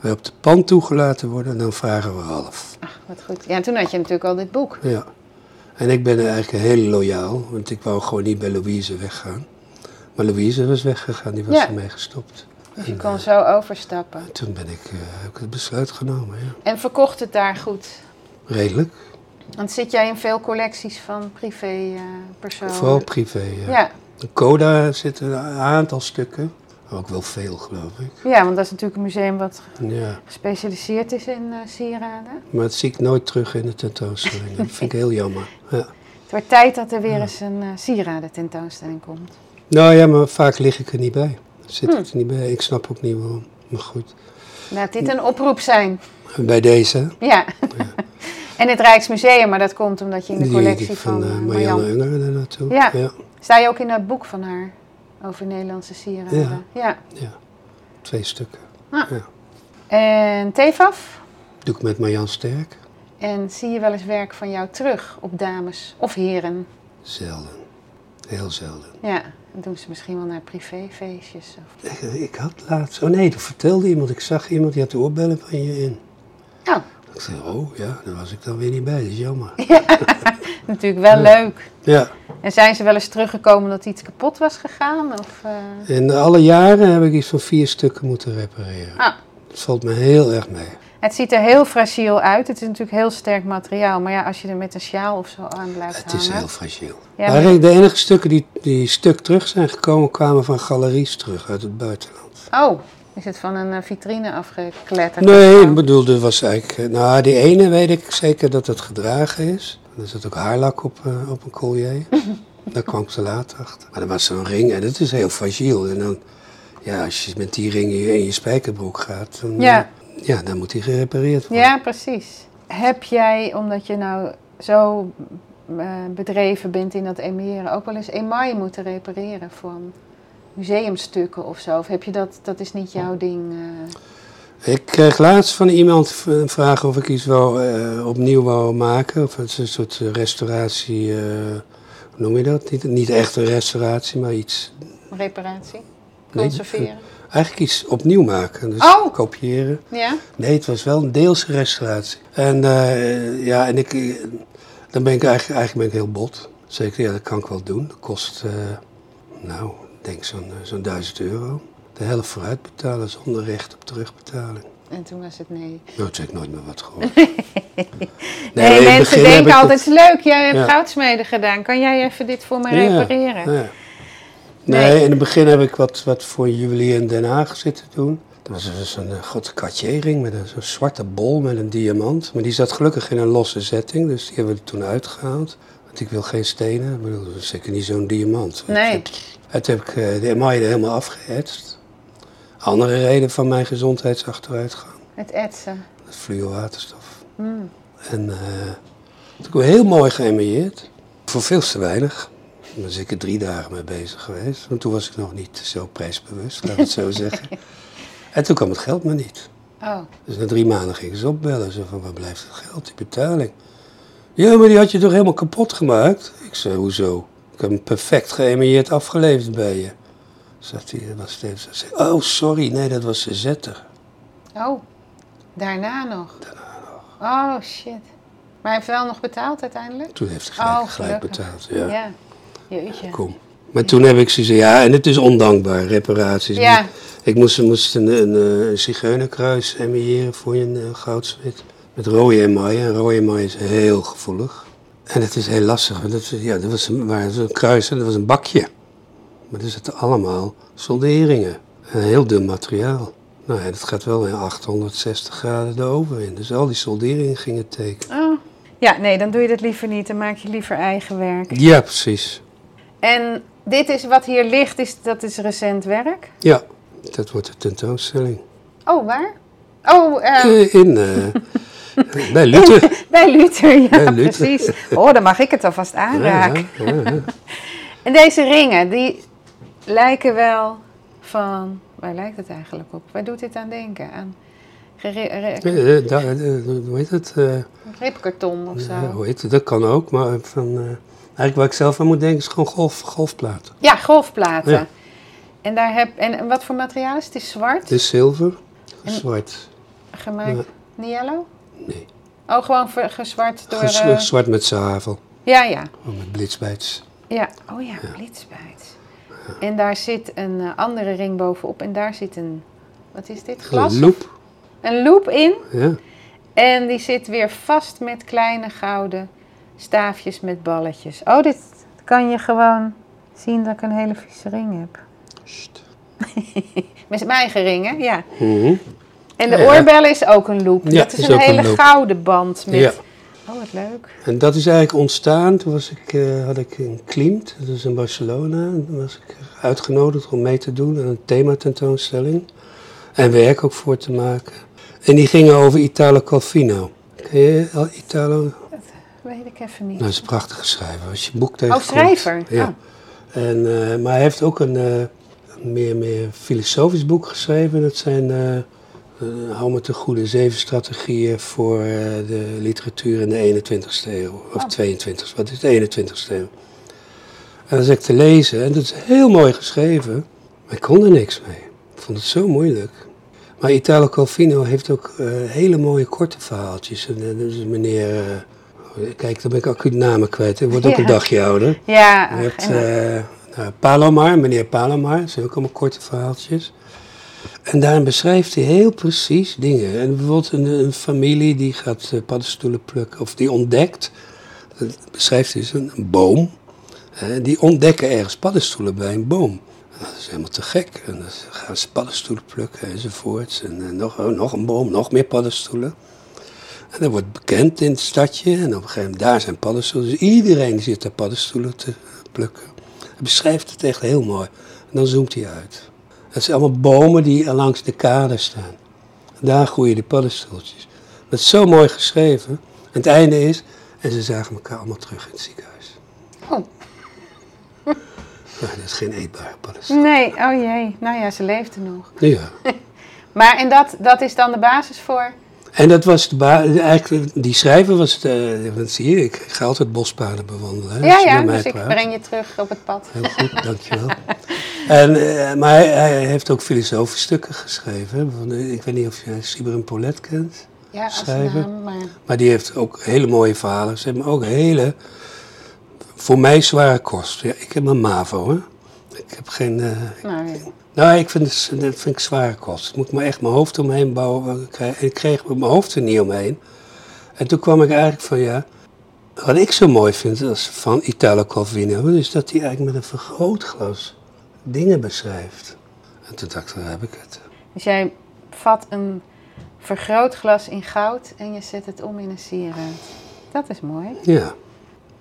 A: we op de pan toegelaten worden, dan vragen we half.
B: Ach, wat goed. Ja, en toen had je natuurlijk al dit boek.
A: Ja. En ik ben eigenlijk heel loyaal, want ik wou gewoon niet bij Louise weggaan. Maar Louise was weggegaan, die was
B: Ja.
A: ermee gestopt.
B: Dus je kon zo overstappen.
A: Toen ben ik, eh, heb ik het besluit genomen, ja.
B: En verkocht het daar goed.
A: Redelijk.
B: Want zit jij in veel collecties van privépersonen?
A: Vooral privé. Ja.
B: Ja.
A: De Coda zitten een aantal stukken. Ook wel veel, geloof ik.
B: ja, want dat is natuurlijk een museum wat
A: Ja.
B: gespecialiseerd is in eh, sieraden.
A: Maar dat zie ik nooit terug in de tentoonstelling. Dat vind ik heel jammer. Ja.
B: Het wordt tijd dat er weer eens een eh sieraden tentoonstelling komt.
A: Nou ja, maar vaak lig ik er niet bij.
B: Hm.
A: Zit ik er niet bij. Ik snap ook niet waarom. Maar goed.
B: Laat dit een oproep zijn.
A: Bij deze.
B: Ja. En het Rijksmuseum, maar dat komt omdat je in de
A: Die
B: collectie
A: heb ik
B: van,
A: van, eh,
B: eh,
A: Marianne
B: Marjan.
A: Unger daar naartoe.
B: Ja.
A: ja.
B: Sta je ook in dat boek van haar over Nederlandse sieraden? Ja.
A: ja. Twee stukken.
B: En TEFAF?
A: Doe ik met Marjan Sterk.
B: En zie je wel eens werk van jou terug op dames of heren?
A: Zelden. Heel zelden.
B: Ja, dat doen ze misschien wel naar privéfeestjes. Of...
A: Ik, ik had laatst... Oh nee, dat vertelde iemand. Ik zag iemand die had de oorbellen van je in.
B: Oh,
A: Ik zei, oh ja, daar was ik dan weer niet bij. Dat is jammer.
B: natuurlijk wel leuk.
A: Ja.
B: En zijn ze wel eens teruggekomen dat iets kapot was gegaan? Of, eh,
A: In alle jaren heb ik iets van vier stukken moeten repareren.
B: Ah.
A: Dat valt me heel erg mee.
B: Het ziet er heel fragiel uit. Het is natuurlijk heel sterk materiaal. Maar ja, als je er met een sjaal of zo aan blijft
A: Het is
B: hangen.
A: heel fragiel.
B: Ja,
A: maar de enige stukken die, die stuk terug zijn gekomen, kwamen van galeries terug uit het buitenland.
B: Oh, is het van een eh, vitrine afgekletterd?
A: Nee, ik
B: Oh.
A: bedoel, er was eigenlijk... eh, Nou, die ene weet ik zeker dat het gedragen is. Er zat ook haarlak op, eh, op een collier.
B: Mhm.
A: Daar kwam ik te laat achter. Maar er was zo'n ring en het is heel fragiel. En dan, ja, als je met die ring in je spijkerbroek gaat, dan,
B: Ja.
A: eh, ja, dan moet die gerepareerd worden.
B: Ja, precies. Heb jij, omdat je nou zo eh, bedreven bent in dat emieren, ook wel eens emaille moeten repareren van museumstukken of zo? Of heb je dat, dat is niet jouw ding? eh?
A: Ik kreeg laatst van iemand v- een vraag of ik iets wou, eh, opnieuw wou maken. Of het is een soort eh, restauratie, eh, hoe noem je dat? Niet, niet echt een restauratie, maar iets.
B: reparatie?
A: Nee,
B: Conserveren?
A: Eigenlijk iets opnieuw maken. Dus
B: Oh!
A: kopiëren.
B: Ja?
A: Nee, het was wel een deelse restauratie. En eh, ja, en ik, eh, dan ben ik eigenlijk, eigenlijk ben ik heel bot. Zeker, ja, dat kan ik wel doen. Dat kost, eh, nou, ik denk zo'n eh, zo'n 1000 euro. De helft vooruit betalen zonder recht op terugbetaling. Nou,
B: En toen was het nee.
A: Nooit zeg ik nooit meer wat gehoord.
B: Nee,
A: in het
B: mensen
A: begin heb
B: denken
A: ik
B: altijd, leuk, jij hebt
A: Ja.
B: goudsmeden gedaan. Kan jij even dit voor me
A: het- Ja,
B: repareren?
A: ja.
B: Nee.
A: Nee. in het begin heb ik wat, wat voor een juwelier in Den Haag zitten doen. Dat was dus een eh, god ring met een zo'n zwarte bol met een diamant. Maar die zat gelukkig in een losse zetting, dus die hebben we er toen uitgehaald. Want ik wil geen stenen, ik bedoel, dat is zeker niet zo'n diamant. weet
B: Nee.
A: je. Het heb ik eh, de emaille er helemaal afgehetst. Andere reden van mijn gezondheidsachteruitgang.
B: Het etsen.
A: Het fluorwaterstof.
B: Mm.
A: En eh het is ook heel mooi geëmailleerd. Voor veel te weinig. Daar ben ik er drie dagen mee bezig geweest. Want toen was ik nog niet zo prijsbewust, laat ik het zo zeggen. En toen kwam het geld maar niet.
B: Oh,
A: Dus na drie maanden gingen ze opbellen. Ze van, waar blijft het geld, die betaling? Ja, maar die had je toch helemaal kapot gemaakt? Ik zei, hoezo? Ik heb hem perfect geëmailleerd afgeleverd bij je. Zat hij, was steeds, ze zei, oh sorry, nee, dat was de zetter.
B: oh. Daarna nog? Daarna nog. Oh, shit. Maar hij heeft wel nog betaald uiteindelijk?
A: Toen heeft hij gelijk,
B: Oh,
A: gelijk
B: gelukkig.
A: betaald.
B: Ja. Jeetje.
A: Kom. Maar toen heb ik ze gezegd, ja, en het is ondankbaar, reparaties.
B: Ja,
A: Ik moest, moest een, een, eh, zigeunerkruis emailleren voor een eh, goudsmid. Met rode emaille. En rode emaille is heel gevoelig. En het is heel lastig, want dat, ja, dat was een, waar, zo'n kruis en dat was een bakje. Maar er zitten allemaal solderingen. En heel dun materiaal. Nou ja, dat gaat wel in 860 graden de oven in. Dus al die solderingen gingen tekenen.
B: Oh. Ja, nee, dan doe je dat liever niet. Dan maak je liever eigen werk.
A: Ja, precies.
B: En dit is wat hier ligt, is, dat is recent werk.
A: Ja, dat wordt de tentoonstelling.
B: Oh, waar? Oh, eh,
A: Eh, In, eh, bij Luther.
B: bij Luther, ja,
A: Bij Luther.
B: precies. Oh, dan mag ik het alvast aanraken.
A: Ja, ja, ja.
B: En deze ringen, die lijken wel van... Waar lijkt het eigenlijk op? Waar doet dit aan denken? Aan gere- re-
A: Eh, eh, daar, eh, hoe heet het? Eh,
B: ripkarton of
A: ja,
B: zo.
A: hoe heet het? Dat kan ook, maar van, eh, eigenlijk waar ik zelf aan moet denken is gewoon golf, golfplaten.
B: Ja, golfplaten.
A: Ja.
B: En, daar heb, en wat voor materiaal is het? Het is zwart
A: Het is zilver,
B: En-
A: zwart.
B: gemaakt. Niet yellow?
A: Nee,
B: Oh, gewoon ver- gezwart door...
A: Ges-
B: eh,
A: zwart met zavel,
B: ja, ja.
A: of met blitzbijts.
B: Ja, oh ja, blitzbijt. En daar zit een eh, andere ring bovenop en daar zit een, wat is dit, glas?
A: Een loop,
B: Een loop in
A: ja.
B: en die zit weer vast met kleine gouden staafjes met balletjes. Oh, dit kan je gewoon zien dat ik een hele vieze ring heb.
A: Sst.
B: Met mijn eigen ring, hè? Ja.
A: Mhm.
B: En de
A: Ja, ja.
B: oorbel is ook een loop.
A: Ja,
B: dat is,
A: is
B: een
A: ook een
B: hele
A: loop.
B: gouden band met...
A: Ja.
B: Oh, wat leuk.
A: En dat is eigenlijk ontstaan. Toen was ik, eh, had ik in Klimt, dat is in Barcelona, en toen was ik uitgenodigd om mee te doen aan een thematentoonstelling. En werk ook voor te maken. En die gingen over Italo Calvino. Ken je El Italo?
B: Weet ik even niet.
A: Nou, dat is een prachtige schrijver. Als je een boek
B: oh,
A: tegenkomt.
B: schrijver.
A: Ja.
B: Oh.
A: En, eh, maar hij heeft ook een eh, een meer, meer filosofisch boek geschreven. Dat zijn eh eh, Hou me te goede zeven strategieën voor eh, de literatuur in de 21ste eeuw. Of
B: Oh.
A: 22 wat is de 21ste eeuw? En dat is ik te lezen. En dat is heel mooi geschreven. Maar ik kon er niks mee. Ik vond het zo moeilijk. Maar Italo Calvino heeft ook eh, hele mooie korte verhaaltjes. En, eh, dus meneer... eh, kijk, dan ben ik acuut namen kwijt. Ik word ook
B: Ja.
A: een dagje ouder.
B: Ja,
A: Je
B: ach,
A: hebt
B: en-
A: eh, nou, Palomar, meneer Palomar, dat zijn ook allemaal korte verhaaltjes. En daarin beschrijft hij heel precies dingen. En bijvoorbeeld een, een familie die gaat eh, paddenstoelen plukken, of die ontdekt, dat beschrijft hij zo'n een boom. hè, die ontdekken ergens paddenstoelen bij een boom. En dat is helemaal te gek. En dan gaan ze paddenstoelen plukken enzovoorts. En eh, nog, oh, nog een boom, nog meer paddenstoelen. En dat wordt bekend in het stadje. En op een gegeven moment, daar zijn paddenstoelen. Dus iedereen zit daar paddenstoelen te plukken. Hij beschrijft het echt heel mooi. En dan zoomt hij uit. Het zijn allemaal bomen die langs de kade staan. En daar groeien de paddenstoeltjes. Dat is zo mooi geschreven. En het einde is, en ze zagen elkaar allemaal terug in het ziekenhuis.
B: Oh.
A: Maar dat is geen eetbare paddenstoel.
B: Nee, oh jee. Nou ja, ze leefde nog.
A: Ja.
B: Maar en dat, dat is dan de basis voor?
A: En dat was de ba- eigenlijk, die schrijver was het, eh, want zie je, ik ga altijd bospaden bewandelen. hè,
B: ja,
A: als je
B: ja,
A: met mij
B: dus ik
A: praat.
B: breng je terug op het pad.
A: Heel goed, dankjewel. En, eh, maar hij, hij heeft ook filosofische stukken geschreven. hè, Van, eh, ik weet niet of je Syberin Paulet kent.
B: Ja, als
A: Schrijven.
B: naam, maar...
A: Maar die heeft ook hele mooie verhalen. Ze hebben ook hele, voor mij zware kost. Ja, ik heb een MAVO, hè. Ik heb geen... eh,
B: Nou, ja.
A: nou, ik vind, het- dat vind ik zware kost. Moet ik me echt mijn hoofd omheen bouwen. Ik kreeg- Ik kreeg mijn hoofd er niet omheen. En toen kwam ik eigenlijk van, ja... Wat ik zo mooi vind als van Italo Calvino... is dat hij eigenlijk met een vergrootglas dingen beschrijft. En toen dacht ik, daar heb ik het.
B: Dus jij vat een vergrootglas in goud en je zet het om in een sieraad. Dat is mooi.
A: Ja,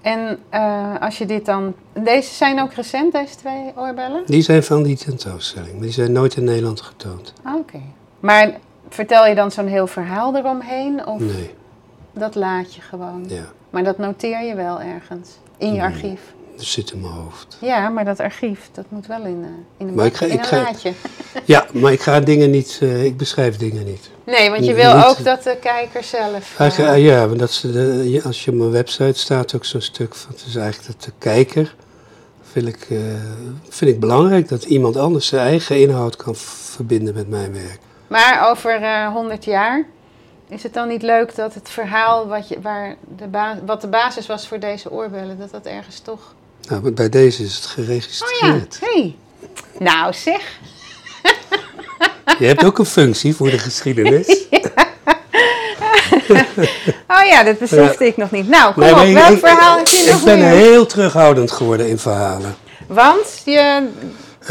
B: En eh, als je dit dan... Deze zijn ook recent, deze twee oorbellen?
A: die zijn van die tentoonstelling. Maar die zijn nooit in Nederland getoond.
B: Ah, Oké. Maar vertel je dan zo'n heel verhaal eromheen? Of
A: Nee,
B: dat laat je gewoon?
A: ja.
B: Maar dat noteer je wel ergens? In je
A: Nee.
B: archief?
A: Dat zit in mijn hoofd.
B: Ja, maar dat archief, dat moet wel in, eh, in een,
A: Maar ik ga-
B: bakje, in
A: ik
B: een
A: ga-
B: laadje.
A: Ja, maar ik ga dingen niet... eh, ik beschrijf dingen niet.
B: Nee, want je
A: Je
B: wil
A: moet-
B: ook dat de kijker zelf... eh,
A: Eigenlijk, eh, ja, want dat is de, ja, als je op mijn website staat ook zo'n stuk van, het is eigenlijk dat de kijker, vind ik, eh, vind ik belangrijk dat iemand anders zijn eigen inhoud kan v- verbinden met mijn werk.
B: Maar over eh 100 jaar is het dan niet leuk dat het verhaal wat, je, waar de ba- wat de basis was voor deze oorbellen, dat dat ergens toch.
A: Nou, maar bij deze is het
B: Oh ja,
A: geregistreerd.
B: hey. Nou zeg.
A: Je hebt ook een functie voor de geschiedenis.
B: Oh ja, dat besefte ik nog niet. Nou, kom op,
A: maar
B: welk
A: ik-
B: verhaal heb
A: ik,
B: je nog
A: Ik ben
B: meer?
A: heel terughoudend geworden in verhalen.
B: Want je.
A: Eh,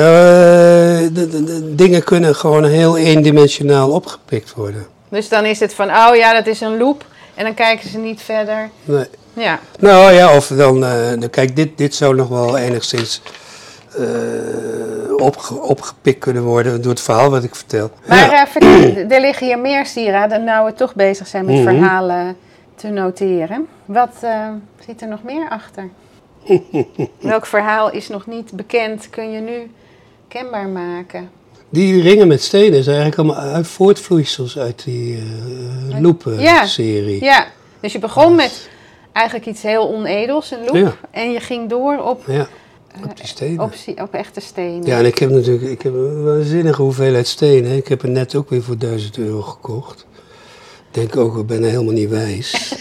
A: de- de- de dingen kunnen gewoon heel eendimensionaal opgepikt worden.
B: Dus dan is het van, oh ja, dat is een loop. En dan kijken ze niet verder.
A: Nee.
B: Ja,
A: Nou ja, of dan, eh, dan- kijk, dit, dit zou nog wel enigszins eh, opge- opgepikt kunnen worden door het verhaal wat ik vertel.
B: Maar
A: ja.
B: eh, vertel- er liggen hier meer sieraden, nou we toch bezig zijn met
A: Mhm.
B: verhalen te noteren. Wat eh, zit er nog meer achter? Welk verhaal is nog niet bekend, kun je nu kenbaar maken?
A: Die ringen met stenen zijn eigenlijk allemaal eh, uit voortvloeisels uit die eh
B: Ja.
A: Loepen-serie.
B: Ja, dus je begon met eigenlijk iets heel onedels, een loop.
A: Ja.
B: En je ging door op,
A: Ja, op die stenen.
B: op, si- op echte stenen.
A: Ja, en ik heb natuurlijk ik heb een waanzinnige hoeveelheid stenen. Ik heb er net ook weer voor 1000 euro gekocht. Ik denk ook, ik ben er helemaal niet wijs.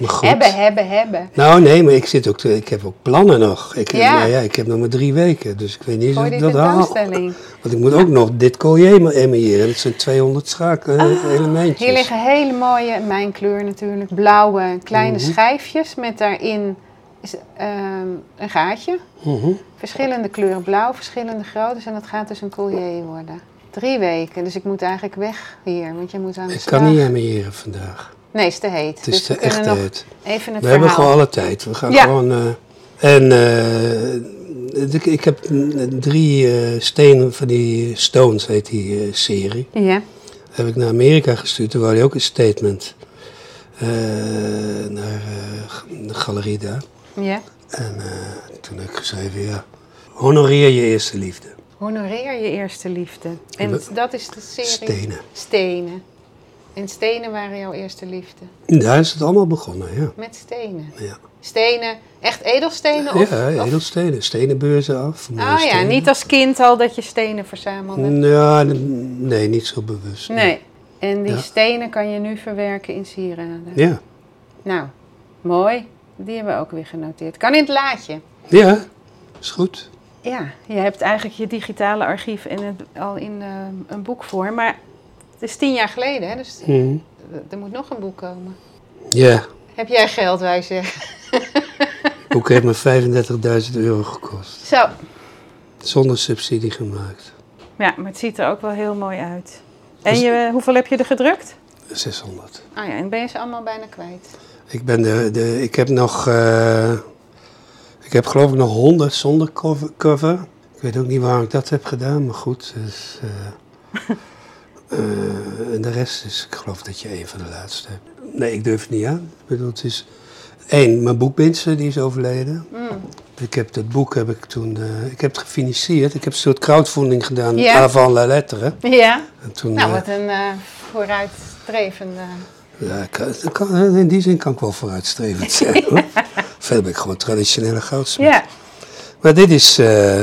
A: maar goed.
B: hebben, hebben, hebben.
A: Nou, nee, maar ik, zit ook te- ik heb ook plannen nog. Ik heb,
B: Ja.
A: Nou ja, ik heb nog maar drie weken, dus ik weet niet
B: Voor
A: of
B: die
A: ik dat haal.
B: tentoonstelling.
A: Want ik moet ook nog dit collier ma- emailleren. Dat zijn 200 schaken, eh, elementjes.
B: Ah, Hier liggen hele mooie, mijn kleur natuurlijk, blauwe kleine
A: Mhm.
B: schijfjes met daarin is, ehm, een gaatje.
A: Mhm.
B: Verschillende kleuren blauw, verschillende groottes en dat gaat dus een collier worden. Drie weken, dus ik moet eigenlijk weg hier, want je moet aan de
A: Ik
B: slag.
A: kan niet emailleren vandaag.
B: Nee, is te heet.
A: Het is
B: dus
A: de
B: we kunnen
A: echte
B: nog
A: het.
B: even het
A: We hebben
B: verhaal.
A: gewoon alle tijd. We gaan
B: Ja.
A: gewoon... eh, en eh, ik, ik heb mm, drie eh, stenen van die Stones, heet die eh, serie.
B: Ja,
A: heb ik naar Amerika gestuurd. Toen wou hij ook een statement. eh, naar eh, de galerie daar.
B: Ja.
A: En eh, toen heb ik geschreven, ja, honoreer je eerste liefde.
B: Honoreer je eerste liefde. En
A: We-
B: dat is de serie...
A: Stenen.
B: Stenen. En stenen waren jouw eerste liefde.
A: Daar is het allemaal begonnen, ja.
B: Met stenen.
A: Ja,
B: Stenen, echt edelstenen? Of,
A: ja
B: of-
A: edelstenen, stenenbeurzen af. mooie
B: Oh ja,
A: stenen. Mm,
B: niet als kind al dat je stenen verzamelde.
A: Ja, nee, niet zo bewust.
B: Nee. En die
A: Ja.
B: stenen kan je nu verwerken in sieraden.
A: Ja,
B: Nou, mooi. Die hebben we ook weer genoteerd. Kan in het laadje.
A: ja, is goed.
B: Ja, je hebt eigenlijk je digitale archief in het, al in eh, een boek voor. Maar het is tien jaar geleden, hè? dus
A: Mhm.
B: d- er moet nog een boek komen.
A: Ja,
B: Heb jij geld, wij zeggen.
A: het boek heeft me 35.000 euro gekost.
B: Zo.
A: Zonder subsidie gemaakt.
B: Ja, maar het ziet er ook wel heel mooi uit.
A: Dus-
B: En je, hoeveel heb je er gedrukt?
A: 600.
B: Ah ja, en ben je ze allemaal bijna kwijt.
A: Ik, ben de, de, ik heb nog, eh, ik heb geloof ik nog 100 zonder cover, cover. Ik weet ook niet waarom ik dat heb gedaan, maar goed. Dus, eh, eh, en de rest is, ik geloof dat je een van de laatste hebt. Nee, ik durf het niet aan. Ik bedoel, het is één, mijn boekbindster die is overleden.
B: Mm.
A: Ik heb dat boek heb ik toen, eh, ik heb het gefinancierd. Ik heb een soort crowdfunding gedaan,
B: Ja.
A: avant la lettre.
B: Ja,
A: En toen,
B: nou
A: eh,
B: wat een eh, vooruitstrevende.
A: Ja, ik- ik kan- in die zin kan ik wel vooruitstrevend zijn. Hoor. Verder ben ik gewoon traditionele goudsmid.
B: Ja.
A: Maar dit is, eh,